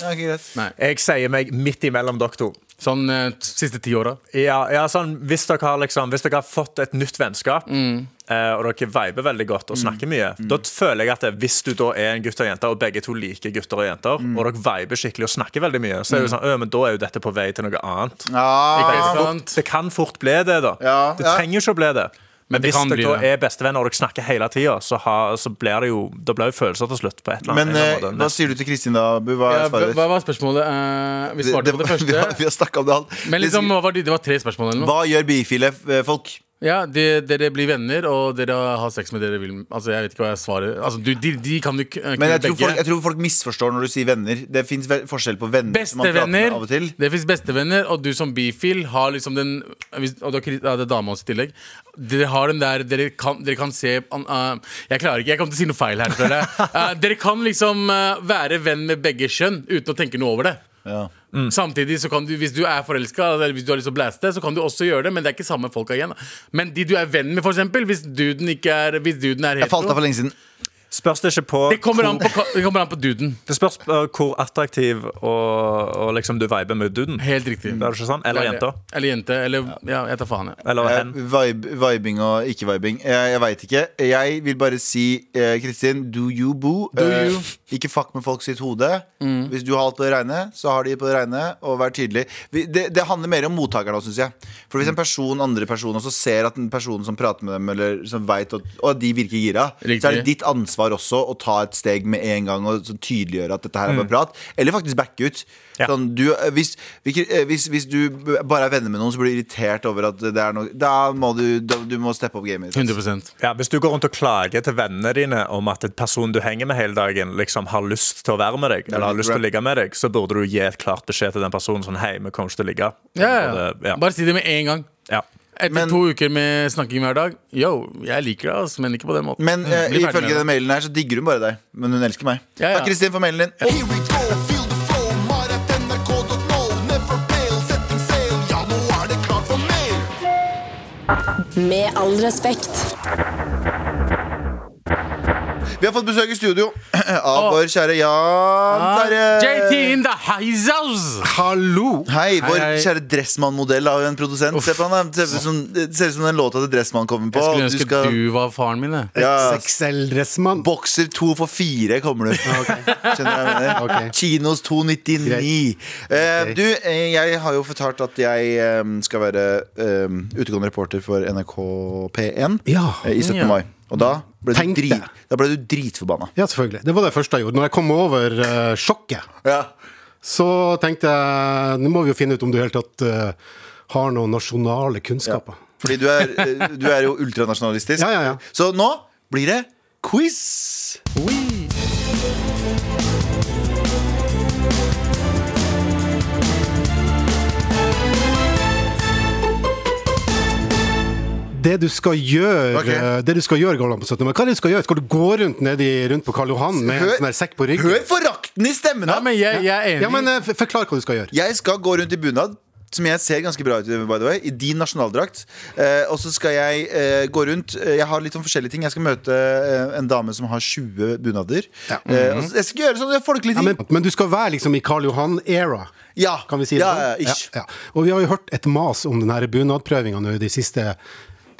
[SPEAKER 2] Ja, ikke greit.
[SPEAKER 3] Nei.
[SPEAKER 4] Jeg sier meg midt imellom dere to.
[SPEAKER 3] Sånn eh, siste ti åra.
[SPEAKER 4] Ja, ja sånn, hvis, dere har liksom, hvis dere har fått et nytt vennskap, eh, og dere viber veldig godt og snakker mye, da føler jeg at det, hvis du da er en gutt og en jente, og begge to liker gutter og jenter, og dere viber skikkelig og snakker veldig mye, så er det jo sånn, «Ø, men da er jo dette på vei til noe annet.
[SPEAKER 2] Ah, Ja,
[SPEAKER 3] Ikke
[SPEAKER 4] Fort-
[SPEAKER 3] sant?
[SPEAKER 4] Det kan fort bli det, da.
[SPEAKER 2] Ja,
[SPEAKER 4] det
[SPEAKER 2] ja.
[SPEAKER 4] trenger jo ikke å bli det. Men,
[SPEAKER 3] det
[SPEAKER 4] hvis
[SPEAKER 3] kan bli
[SPEAKER 4] dere da
[SPEAKER 3] det.
[SPEAKER 4] er bestevenner og dere snakker hele tida, så, har- så blir det jo Da blir det jo følelser til slutt. på et eller
[SPEAKER 2] men
[SPEAKER 4] annet, en eller
[SPEAKER 2] eh,
[SPEAKER 4] annen måte.
[SPEAKER 2] hva sier du til Kristin, da? Bu? Hva er
[SPEAKER 3] Ja, hva
[SPEAKER 2] svaret
[SPEAKER 3] hva
[SPEAKER 2] ditt?
[SPEAKER 3] var spørsmålet? Eh, vi svarte
[SPEAKER 2] Det-
[SPEAKER 3] på
[SPEAKER 2] vi
[SPEAKER 3] det
[SPEAKER 2] har, vi
[SPEAKER 3] første.
[SPEAKER 2] har snakket om det alt.
[SPEAKER 3] Men liksom, hva var det, det var tre spørsmål. eller noe
[SPEAKER 2] Hva gjør bifile eh, folk?
[SPEAKER 3] Ja, de, Dere blir venner, og dere har sex med dere vil. Altså, Jeg vet ikke hva jeg svarer. Altså, du, de, de kan du k-
[SPEAKER 2] Men
[SPEAKER 3] kunne
[SPEAKER 2] jeg tror, folk,
[SPEAKER 3] begge.
[SPEAKER 2] jeg tror folk misforstår når du sier venner. Det fins forskjell på venner som man prater med
[SPEAKER 3] Bestevenner.
[SPEAKER 2] av og til.
[SPEAKER 3] Det fins bestevenner, og du som bifil har liksom den hvis, Og da kri- ja, det er dama også i tillegg. Dere har den der Dere kan, dere kan se an- eh, Jeg klarer ikke, jeg kommer til å si noe feil her. føler jeg. Eh, dere kan liksom eh, være venn med begge kjønn uten å tenke noe over det.
[SPEAKER 2] Ja.
[SPEAKER 3] Samtidig så kan du, Hvis du er forelska, eller hvis du har lyst til å blaste, så kan du også gjøre det, men det er ikke samme folka igjen. Men de du er venn med, for eksempel, hvis duden ikke er Hvis duden er
[SPEAKER 2] Jeg falt av
[SPEAKER 3] hetero
[SPEAKER 2] for lenge siden.
[SPEAKER 4] Spørs det ikke på
[SPEAKER 3] det kommer, an på, ka- det kommer an på duden.
[SPEAKER 4] Det spørs eh, hvor attraktiv og, og liksom du viber med duden.
[SPEAKER 3] Helt riktig.
[SPEAKER 4] Det er ikke sant? Mm. Eller jenta.
[SPEAKER 3] Eller jente. Eller ja, jeg tar faen, jeg.
[SPEAKER 4] Eller
[SPEAKER 2] Eh,
[SPEAKER 4] hen.
[SPEAKER 2] vibe, vibing og ikke vibing. Eh, Jeg, jeg veit ikke. Jeg vil bare si, eh, Kristin, do you boo? Eh,
[SPEAKER 3] you. Mm.
[SPEAKER 2] ikke fuck med folk sitt hode. Hvis du har alt på det reine, så har de på det reine. Og vær tydelig. Vi- Det, det handler mer om mottakeren òg, syns jeg. For hvis en
[SPEAKER 3] Mm.
[SPEAKER 2] person, andre person også ser at den personen som prater med dem, eller som vet at og at de virker gira,
[SPEAKER 3] Riktig.
[SPEAKER 2] så er det ditt ansvar også å ta et steg med en gang og så tydeliggjøre at dette her er
[SPEAKER 3] Mm.
[SPEAKER 2] bare prat. Eller faktisk backe ut.
[SPEAKER 4] Ja.
[SPEAKER 2] Sånn, du, eh, hvis, hvilke- eh, hvis, hvis du b- bare er venner med noen, så blir du irritert over at det er noe Da må du, da, du må steppe opp gamet.
[SPEAKER 3] 100
[SPEAKER 4] Ja, hvis du går rundt og klager til vennene dine om at et person du henger med hele dagen, liksom har lyst til å være med deg, eller har lyst til å ligge med deg, så burde du gi et klart beskjed til den personen sånn Hei, vi kommer ikke til å ligge.
[SPEAKER 3] ja, ja,
[SPEAKER 4] Og det-
[SPEAKER 3] ja.
[SPEAKER 4] ja.
[SPEAKER 3] Bare si det med en gang.
[SPEAKER 4] ja.
[SPEAKER 3] Etter
[SPEAKER 2] Men-
[SPEAKER 3] to uker med snakking hver dag. Yo, jeg liker deg, ass, men ikke på den måten. Mm.
[SPEAKER 2] Men eh,
[SPEAKER 3] Bli ferdig med
[SPEAKER 2] ifølge
[SPEAKER 3] det.
[SPEAKER 2] den mailen her, så digger hun bare deg. Men hun elsker meg.
[SPEAKER 3] Ja, ja.
[SPEAKER 2] Takk, Kristin, for mailen din.
[SPEAKER 7] Here we go, feel the flow, mar at nrk.no. Never fail, setting sail, ja, nå
[SPEAKER 5] Med all respekt.
[SPEAKER 2] Vi har fått besøk i studio av vår kjære Jan
[SPEAKER 3] Ah.
[SPEAKER 2] Terje.
[SPEAKER 3] JT in the house house.
[SPEAKER 2] eh, Hallo! Hei, vår
[SPEAKER 3] hei.
[SPEAKER 2] kjære Dressmann-modell har jo en produsent. Se på han, det ser ut som, det ser ut som den låta til Dressmann kommer på.
[SPEAKER 3] Jeg skulle
[SPEAKER 2] og
[SPEAKER 3] ønske du, var faren min. jeg.
[SPEAKER 2] ja,
[SPEAKER 8] Sexeldressmann.
[SPEAKER 2] Bokser to for fire kommer du. Skjønner du hva jeg mener?
[SPEAKER 8] Ok.
[SPEAKER 2] Kinos 299. Eh, du, eh, jeg har jo fortalt at jeg eh, skal være eh, utegående reporter for NRK P1
[SPEAKER 8] Ja.
[SPEAKER 2] eh, i 17.
[SPEAKER 3] Ja.
[SPEAKER 2] mai. Og da ble, du
[SPEAKER 8] Tenk
[SPEAKER 2] dri-
[SPEAKER 8] det.
[SPEAKER 2] da ble du dritforbanna.
[SPEAKER 8] Ja, selvfølgelig. Det var det første jeg gjorde. Når jeg kom over eh, sjokket, så tenkte jeg Nå må vi jo finne ut om du i det hele tatt eh, har noen nasjonale kunnskaper.
[SPEAKER 2] Fordi du er, eh, du er jo ultranasjonalistisk.
[SPEAKER 8] Ja, ja, ja.
[SPEAKER 2] Så nå blir det quiz.
[SPEAKER 8] Det du skal gjøre,
[SPEAKER 2] Ok.
[SPEAKER 8] eh, Det du skal gjøre Galvan, på 17. mai Hva er det du skal gjøre? Skal du gå rundt nedi rundt på Karl Johan med en
[SPEAKER 2] Hør-
[SPEAKER 8] sånn her sekk på ryggen?
[SPEAKER 2] Hør forakten i stemmen
[SPEAKER 3] Ja,
[SPEAKER 2] hans!
[SPEAKER 3] men jeg, jeg er enig.
[SPEAKER 8] Ja, men eh, f- Forklar hva du skal gjøre.
[SPEAKER 2] Jeg skal gå rundt i bunad som jeg ser ganske bra ut i, by the way, i din nasjonaldrakt. Eh, og så skal jeg eh, gå rundt eh, Jeg har litt sånn forskjellige ting. Jeg skal møte eh, en dame som har 20 bunader. eh, og så, jeg skal gjøre sånne folkelige
[SPEAKER 8] Ja,
[SPEAKER 2] ting.
[SPEAKER 8] men, men du skal være liksom i Karl Johan-era.
[SPEAKER 2] Ja.
[SPEAKER 8] Kan vi si det?
[SPEAKER 2] Ja,
[SPEAKER 8] sånn?
[SPEAKER 2] ja, ish.
[SPEAKER 8] Ja, ja. Og vi har jo hørt et mas om den her bunadprøvinga nå i de siste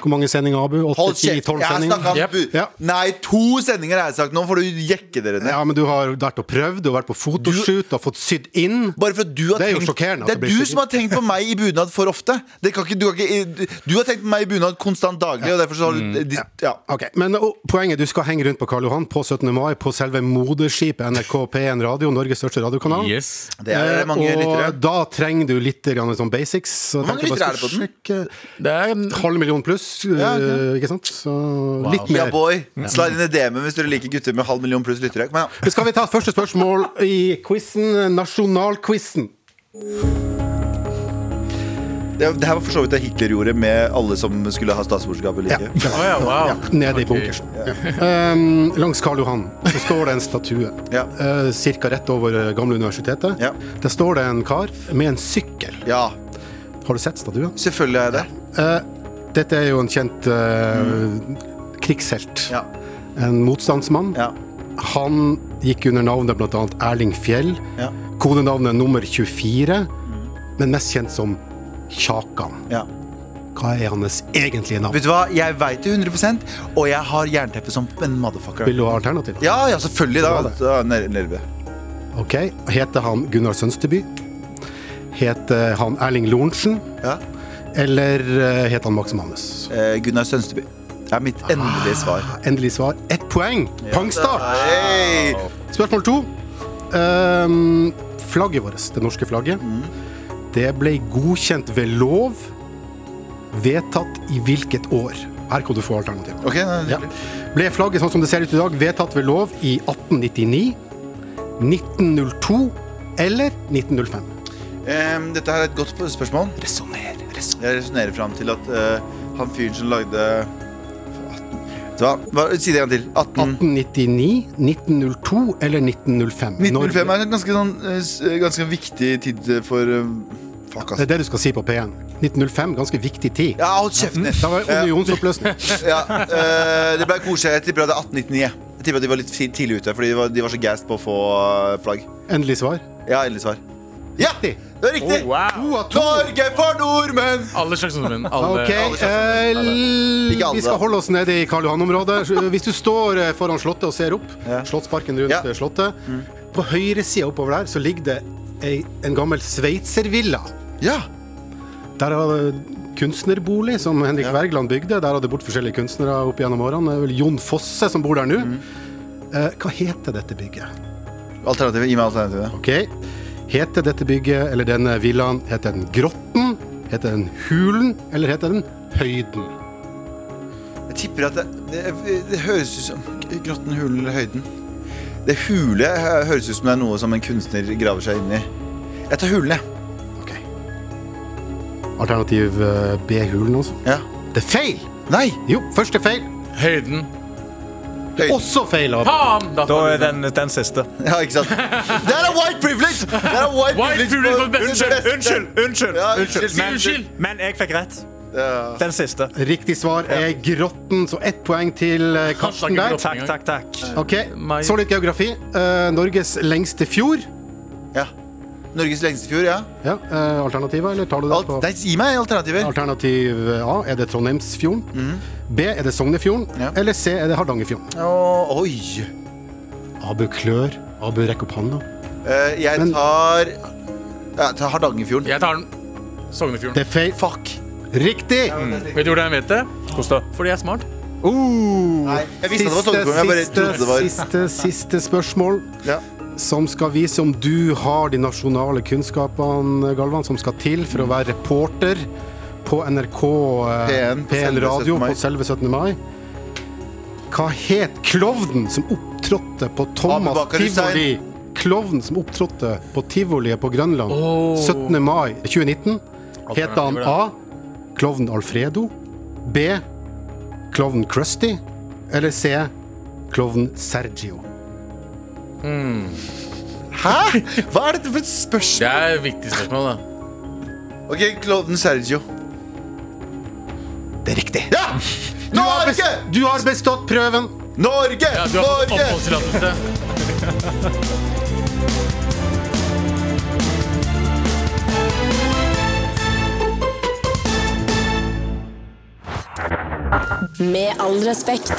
[SPEAKER 8] Hvor mange sendinger, Abu?
[SPEAKER 2] Hold
[SPEAKER 8] 8-10-12
[SPEAKER 2] kjeft! Jeg har
[SPEAKER 8] sendinger?
[SPEAKER 2] snakket om
[SPEAKER 3] Jep.
[SPEAKER 2] bu-
[SPEAKER 8] Ja.
[SPEAKER 2] Nei, to sendinger har jeg sagt. Nå får du jekke dere ned.
[SPEAKER 8] Ja, men du har vært og prøvd, du har vært på fotoshoot, du har fått sydd inn.
[SPEAKER 2] Bare for at du har
[SPEAKER 8] Det er jo
[SPEAKER 2] tenkt,
[SPEAKER 8] sjokkerende
[SPEAKER 2] Det
[SPEAKER 8] at det
[SPEAKER 2] er du
[SPEAKER 8] blir sydd
[SPEAKER 2] som har tenkt på meg i bunad for ofte. Det kan ikke, du, kan ikke, du har tenkt på meg i bunad konstant daglig, og derfor så har
[SPEAKER 8] Mm.
[SPEAKER 2] du de, ja.
[SPEAKER 8] Ok, men og, Poenget du skal henge rundt på Karl Johan på 17. mai på selve moderskipet NRK P1 Radio, Norges største radiokanal.
[SPEAKER 3] Yes.
[SPEAKER 2] Det er
[SPEAKER 8] Eh,
[SPEAKER 2] mange
[SPEAKER 8] og
[SPEAKER 2] lyttere.
[SPEAKER 8] da trenger du litt grann sånn basics. Så
[SPEAKER 2] Hvor mange
[SPEAKER 8] tenkte jeg bare
[SPEAKER 2] lyttere er det på
[SPEAKER 8] skulle sjekke-
[SPEAKER 3] Det er en
[SPEAKER 8] Halv million pluss,
[SPEAKER 2] Ja, ok.
[SPEAKER 8] eh, ikke sant? Så litt
[SPEAKER 2] Ja,
[SPEAKER 8] mer. Mm.
[SPEAKER 2] boy. Slide inn i DM-en hvis dere liker gutter med halv million pluss lyttere. Men ja.
[SPEAKER 8] Men Skal vi ta første spørsmål i quizen? Nasjonalquizen.
[SPEAKER 2] det, det her var for så vidt det Hitler gjorde med alle som skulle ha statsborgerskap eller ikke.
[SPEAKER 3] Å ja, wow.
[SPEAKER 8] Nede i bunkersen. Ja. Um, langs Karl Johan så står det en statue
[SPEAKER 2] Ja.
[SPEAKER 8] eh, cirka rett over eh, gamle universitetet.
[SPEAKER 2] Ja.
[SPEAKER 8] Der står det en kar med en sykkel.
[SPEAKER 2] Ja,
[SPEAKER 8] Har du sett statuen?
[SPEAKER 2] selvfølgelig er jeg det.
[SPEAKER 8] Dette er jo en kjent eh, krigshelt.
[SPEAKER 2] Ja.
[SPEAKER 8] En motstandsmann.
[SPEAKER 2] Ja.
[SPEAKER 8] Han gikk under navnet bl.a. Erling Fjell.
[SPEAKER 2] Ja.
[SPEAKER 8] Kodenavnet nummer 24, men mest kjent som Kjakan.
[SPEAKER 2] Ja.
[SPEAKER 8] Hva er hans egentlige navn?
[SPEAKER 2] Vet du hva, jeg veit det 100 og jeg har jernteppe som en motherfucker.
[SPEAKER 8] Vil du ha alternativ?
[SPEAKER 2] Ja, ja, selvfølgelig.
[SPEAKER 8] Bra
[SPEAKER 2] Da.
[SPEAKER 8] det.
[SPEAKER 2] da er jeg nel- Nerve.
[SPEAKER 8] Ok, Heter han Gunnar Sønsteby? Heter han Erling Lorentzen?
[SPEAKER 2] Ja.
[SPEAKER 8] Eller eh, heter han Max Manus?
[SPEAKER 2] Eh, Gunnar Sønsteby. Det er mitt endelige svar.
[SPEAKER 8] Endelig svar. Ett poeng! Pangstart!
[SPEAKER 2] Hey.
[SPEAKER 8] Spørsmål to. Ehm, flagget vårt, det norske flagget, det ble godkjent ved lov vedtatt i hvilket år? Her kan du få alternativer.
[SPEAKER 2] Ok, nå-
[SPEAKER 8] Ja. Ble flagget sånn som det ser ut i dag, vedtatt ved lov i 1899, 1902 eller 1905?
[SPEAKER 2] Em, dette her er et godt sp- spørsmål.
[SPEAKER 8] Resonner.
[SPEAKER 2] Jeg resonnerer fram til at eh, han fyren som lagde Vet du hva? Hva- Si det en gang til. 18...
[SPEAKER 8] 1899, 1902 eller 1905?
[SPEAKER 2] 1905
[SPEAKER 8] Norge.
[SPEAKER 2] er en ganske, sånn, eh, s- ganske viktig tid for eh, Fuck,
[SPEAKER 8] Det
[SPEAKER 2] ass.
[SPEAKER 8] er det du skal si på P1. 1905, ganske viktig tid.
[SPEAKER 2] Ja, hold kjeften din!
[SPEAKER 8] Da var det unionsoppløsning.
[SPEAKER 2] Ja, eh, det ble koselig. Jeg tipper at det er 1899. Jeg tipper at de var litt ti- tidlig ute, fordi de var, de var så gassed på å få eh, flagg.
[SPEAKER 8] Endelig svar.
[SPEAKER 2] Ja, endelig svar. Ja! Det
[SPEAKER 8] Riktig.
[SPEAKER 2] er riktig!
[SPEAKER 4] Oh, wow.
[SPEAKER 8] To av to.
[SPEAKER 2] Norge for nordmenn!
[SPEAKER 3] Alle slags nordmenn. Alle,
[SPEAKER 8] Ok,
[SPEAKER 3] alle slags.
[SPEAKER 8] eh,
[SPEAKER 2] Ikke alle.
[SPEAKER 8] vi skal holde oss nede i Karl Johan-området. Hvis du står eh, foran Slottet og ser opp,
[SPEAKER 2] Ja.
[SPEAKER 8] Slottsparken rundt
[SPEAKER 2] Ja. Mm.
[SPEAKER 8] eh, Slottet, på høyresida oppover der så ligger det ei, en gammel sveitservilla.
[SPEAKER 2] Ja.
[SPEAKER 8] Der var det kunstnerbolig som Henrik Wergeland bygde. Der hadde bort forskjellige kunstnere opp gjennom årene. Det er vel Jon Fosse som bor der nå. Eh, hva heter dette bygget?
[SPEAKER 2] Alternativet. Gi meg alternativet.
[SPEAKER 8] Ok, Heter dette bygget, eller denne villaen, heter den Grotten? Heter den Hulen? Eller heter den Høyden?
[SPEAKER 2] Jeg tipper at det, det, det høres ut som Grotten, hulen eller høyden. Det hule eh, høres ut som det er noe som en kunstner graver seg inn i. Jeg tar hulen, jeg.
[SPEAKER 8] Ok. Alternativ eh, B-hulen, altså.
[SPEAKER 2] Ja.
[SPEAKER 8] Det er feil!
[SPEAKER 2] Nei!
[SPEAKER 8] Jo, første feil.
[SPEAKER 3] Høyden.
[SPEAKER 2] Høyden.
[SPEAKER 8] Også feil. Abu.
[SPEAKER 3] Bam! Da
[SPEAKER 4] Da
[SPEAKER 3] får
[SPEAKER 4] er
[SPEAKER 3] du den.
[SPEAKER 4] den, den siste.
[SPEAKER 2] Ja, ikke sant? Det er white privilege! Det er white
[SPEAKER 3] White privilege
[SPEAKER 2] på-
[SPEAKER 3] på beste-
[SPEAKER 2] under beste.
[SPEAKER 4] Unnskyld! Unnskyld!
[SPEAKER 2] Ja,
[SPEAKER 4] unnskyld.
[SPEAKER 2] unnskyld.
[SPEAKER 4] Men, men jeg fikk rett. Den siste.
[SPEAKER 8] Riktig svar er Grotten, så ett poeng til eh, Karsten der.
[SPEAKER 3] Grotten.
[SPEAKER 4] Takk, takk, takk.
[SPEAKER 2] Eh,
[SPEAKER 8] Ok,
[SPEAKER 3] Meg.
[SPEAKER 8] Så litt geografi. Eh, Norges lengste fjord.
[SPEAKER 2] Ja. Norges lengste fjord, ja.
[SPEAKER 8] Ja, eh, alternativer, eller tar du det
[SPEAKER 2] Alt,
[SPEAKER 8] på
[SPEAKER 2] nei, gi meg alternativer.
[SPEAKER 8] Alternativ A er det Trondheimsfjorden. B er det Sognefjorden.
[SPEAKER 2] Mhm. Ja.
[SPEAKER 8] Eller C er det Hardangerfjorden.
[SPEAKER 2] Å, oi.
[SPEAKER 8] Abu klør. Abu rekker opp hånda.
[SPEAKER 2] Eh, jeg
[SPEAKER 8] Men-
[SPEAKER 2] tar Jeg tar Hardangerfjorden.
[SPEAKER 3] Jeg tar den. Sognefjorden.
[SPEAKER 8] Det er feil. Fuck. Riktig!
[SPEAKER 3] Vet du hvordan jeg vet det?
[SPEAKER 4] Hvordan
[SPEAKER 3] Fordi jeg er smart.
[SPEAKER 8] Oh.
[SPEAKER 2] Nei, jeg visste at det var Sognefjorden, jeg bare
[SPEAKER 8] siste,
[SPEAKER 2] trodde det var
[SPEAKER 8] siste, siste spørsmål.
[SPEAKER 2] Ja.
[SPEAKER 8] Som skal vise om du har de nasjonale kunnskapene, Galvan, som skal til for å være reporter på NRK eh,
[SPEAKER 2] P1 på
[SPEAKER 8] P1
[SPEAKER 2] selve 17.
[SPEAKER 8] Radio
[SPEAKER 2] mai.
[SPEAKER 8] på selve 17. mai. Hva het klovnen som opptrådte på Thomas
[SPEAKER 2] Abubakar Hussein.
[SPEAKER 8] Tivoli? Klovnen som opptrådte på tivoliet på Grønland 17. mai 2019. Het han
[SPEAKER 3] Alternativer,
[SPEAKER 8] A. Klovnen Alfredo? B. Klovnen Krusty? Eller C. Klovnen Sergio?
[SPEAKER 2] Hæ?! Hva er dette for et
[SPEAKER 3] Det
[SPEAKER 2] spørsmål?
[SPEAKER 3] er et viktig spørsmål, da.
[SPEAKER 2] Ok, Klovnen Sergio.
[SPEAKER 8] Det er riktig.
[SPEAKER 2] Ja! Norge!
[SPEAKER 8] Du har bestått prøven!
[SPEAKER 2] Norge!
[SPEAKER 3] Ja, du har fått
[SPEAKER 2] Norge!
[SPEAKER 3] oppholdstillatelse.
[SPEAKER 5] Med all respekt.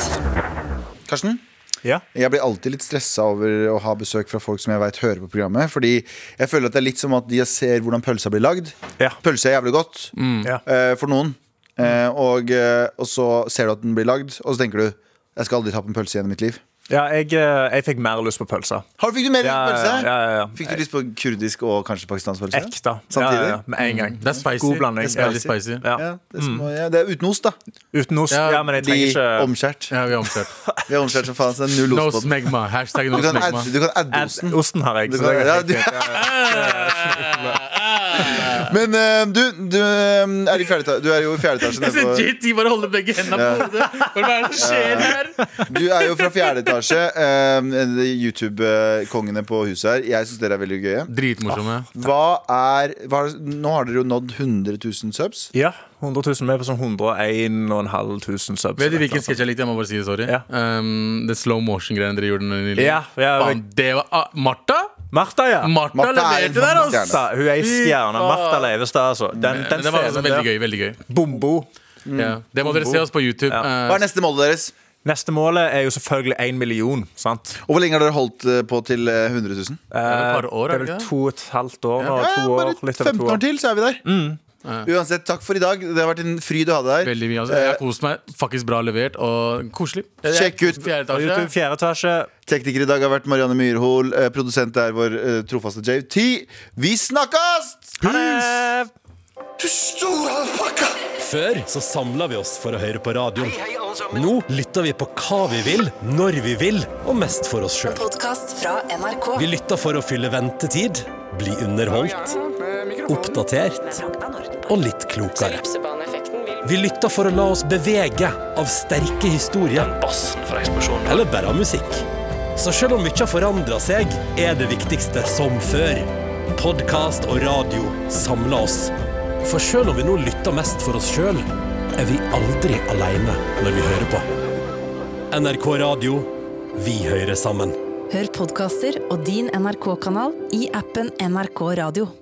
[SPEAKER 2] Karsten?
[SPEAKER 4] Ja.
[SPEAKER 2] Jeg blir alltid litt stressa over å ha besøk fra folk som jeg vet hører på programmet. Fordi jeg føler at det er litt som at de ser hvordan pølsa blir lagd.
[SPEAKER 4] Ja.
[SPEAKER 2] Pølse er jævlig godt
[SPEAKER 4] Ja.
[SPEAKER 2] eh, for noen. Eh, og, eh, og så ser du at den blir lagd, og så tenker du jeg skal aldri ta på en pølse igjen i mitt liv.
[SPEAKER 4] ja, jeg, eh, jeg fikk mer lyst på pølse.
[SPEAKER 2] Har du fikk du mer
[SPEAKER 4] Ja,
[SPEAKER 2] pølse?
[SPEAKER 4] ja, ja, ja.
[SPEAKER 2] Fikk du lyst på kurdisk og kanskje pakistansk pølse?
[SPEAKER 4] Ekte.
[SPEAKER 2] Samtidig?
[SPEAKER 4] Ja, ja, ja, med en gang.
[SPEAKER 3] Det er spicy.
[SPEAKER 4] God blanding.
[SPEAKER 3] Det er veldig spicy.
[SPEAKER 4] Ja. Mm.
[SPEAKER 2] Ja, det, er små, ja, det er uten ost, da.
[SPEAKER 4] Uten ost.
[SPEAKER 3] Ja,
[SPEAKER 4] Ja, men jeg
[SPEAKER 2] De
[SPEAKER 4] trenger ikke
[SPEAKER 2] omskjært.
[SPEAKER 3] Ja, vi har omkjørt.
[SPEAKER 2] Vi er omskjært som faen, så det er null
[SPEAKER 3] No
[SPEAKER 2] ost på den.
[SPEAKER 3] smegma. Hashtag no
[SPEAKER 2] Du kan
[SPEAKER 3] smegma.
[SPEAKER 2] adde, du kan adde osten.
[SPEAKER 4] Ad- Osten har jeg.
[SPEAKER 2] Du
[SPEAKER 4] så det
[SPEAKER 2] kan,
[SPEAKER 4] er
[SPEAKER 2] ja,
[SPEAKER 4] helt
[SPEAKER 2] du,
[SPEAKER 4] greit.
[SPEAKER 2] men eh, du, du, eh, er i fjerde, eta- du er jo i fjerde etasje.
[SPEAKER 3] Jeg ser
[SPEAKER 2] nede på-
[SPEAKER 3] JT bare holder begge hendene på hodet. Hva er det som skjer her?
[SPEAKER 2] Du er jo fra fjerde etasje. eh, YouTube-kongene på huset her. Jeg syns dere er veldig gøye.
[SPEAKER 3] Dritmorsomme.
[SPEAKER 2] Hva er hva, er- Nå har dere jo nådd 100 000 subs.
[SPEAKER 4] Ja, 100 000 med på sånn 101 500 subs.
[SPEAKER 3] Vet du hvilken sketsj jeg likte? Jeg må bare si det, sorry.
[SPEAKER 4] Ja.
[SPEAKER 3] Um, det slow motion-greiene dere gjorde. Når dere
[SPEAKER 4] Ja, ja,
[SPEAKER 3] Faen, det var ah, Martha?
[SPEAKER 4] Martha, ja.
[SPEAKER 3] Martha,
[SPEAKER 2] Martha er en
[SPEAKER 3] leverte der,
[SPEAKER 2] stjerne.
[SPEAKER 3] altså!
[SPEAKER 4] Martha, hun er ei stjerne.
[SPEAKER 3] Fy faen.
[SPEAKER 4] Martha Leivestad, altså. Den, den
[SPEAKER 3] Men det var altså
[SPEAKER 4] scenen
[SPEAKER 3] veldig
[SPEAKER 4] der.
[SPEAKER 3] gøy. veldig gøy
[SPEAKER 4] Bombo.
[SPEAKER 3] ja. Det må dere se oss på YouTube. Eh,
[SPEAKER 2] Hva er neste målet deres?
[SPEAKER 4] Neste målet er jo selvfølgelig én million. sant?
[SPEAKER 2] Og hvor lenge har dere holdt eh, på til eh, 100 000?
[SPEAKER 3] er vel et par år,
[SPEAKER 4] Eh,
[SPEAKER 3] er
[SPEAKER 4] det er
[SPEAKER 3] det
[SPEAKER 4] vel
[SPEAKER 3] ikke?
[SPEAKER 4] to og et halvt år nå.
[SPEAKER 2] Ja,
[SPEAKER 4] To år,
[SPEAKER 2] bare
[SPEAKER 4] litt over
[SPEAKER 2] 15
[SPEAKER 4] to
[SPEAKER 2] år
[SPEAKER 4] år.
[SPEAKER 2] til, så er vi der. Uansett, takk for i dag. Det har vært en fryd å ha deg her.
[SPEAKER 3] Veldig mye, altså. Jeg har kost meg. Faktisk bra levert og koselig.
[SPEAKER 2] Eh, Sjekk ut
[SPEAKER 3] Fjerde
[SPEAKER 4] På
[SPEAKER 3] etasje.
[SPEAKER 4] YouTube, fjerde etasje.
[SPEAKER 2] Tekniker i dag har vært Marianne Myrhol. eh, Produsent er vår eh, trofaste JT. Vi snakkes!
[SPEAKER 4] Eh,
[SPEAKER 9] Før så samla vi oss for å høre på radioen. Nå lytter vi på hva vi vil, når vi vil, og mest for oss sjøl.
[SPEAKER 5] Podkast fra NRK.
[SPEAKER 9] Vi lytter for å fylle ventetid, bli underholdt, oppdatert og litt klokere. Vi lytter for å la oss bevege av sterke historier. Eller bare av musikk. Så selv om mye har forandra seg, er det viktigste som før. Podkast og radio samler oss. For selv om vi nå lytter mest for oss sjøl, er vi aldri aleine når vi hører på. NRK Radio. Vi hører sammen.
[SPEAKER 1] Hør podkaster og din NRK-kanal i appen NRK Radio.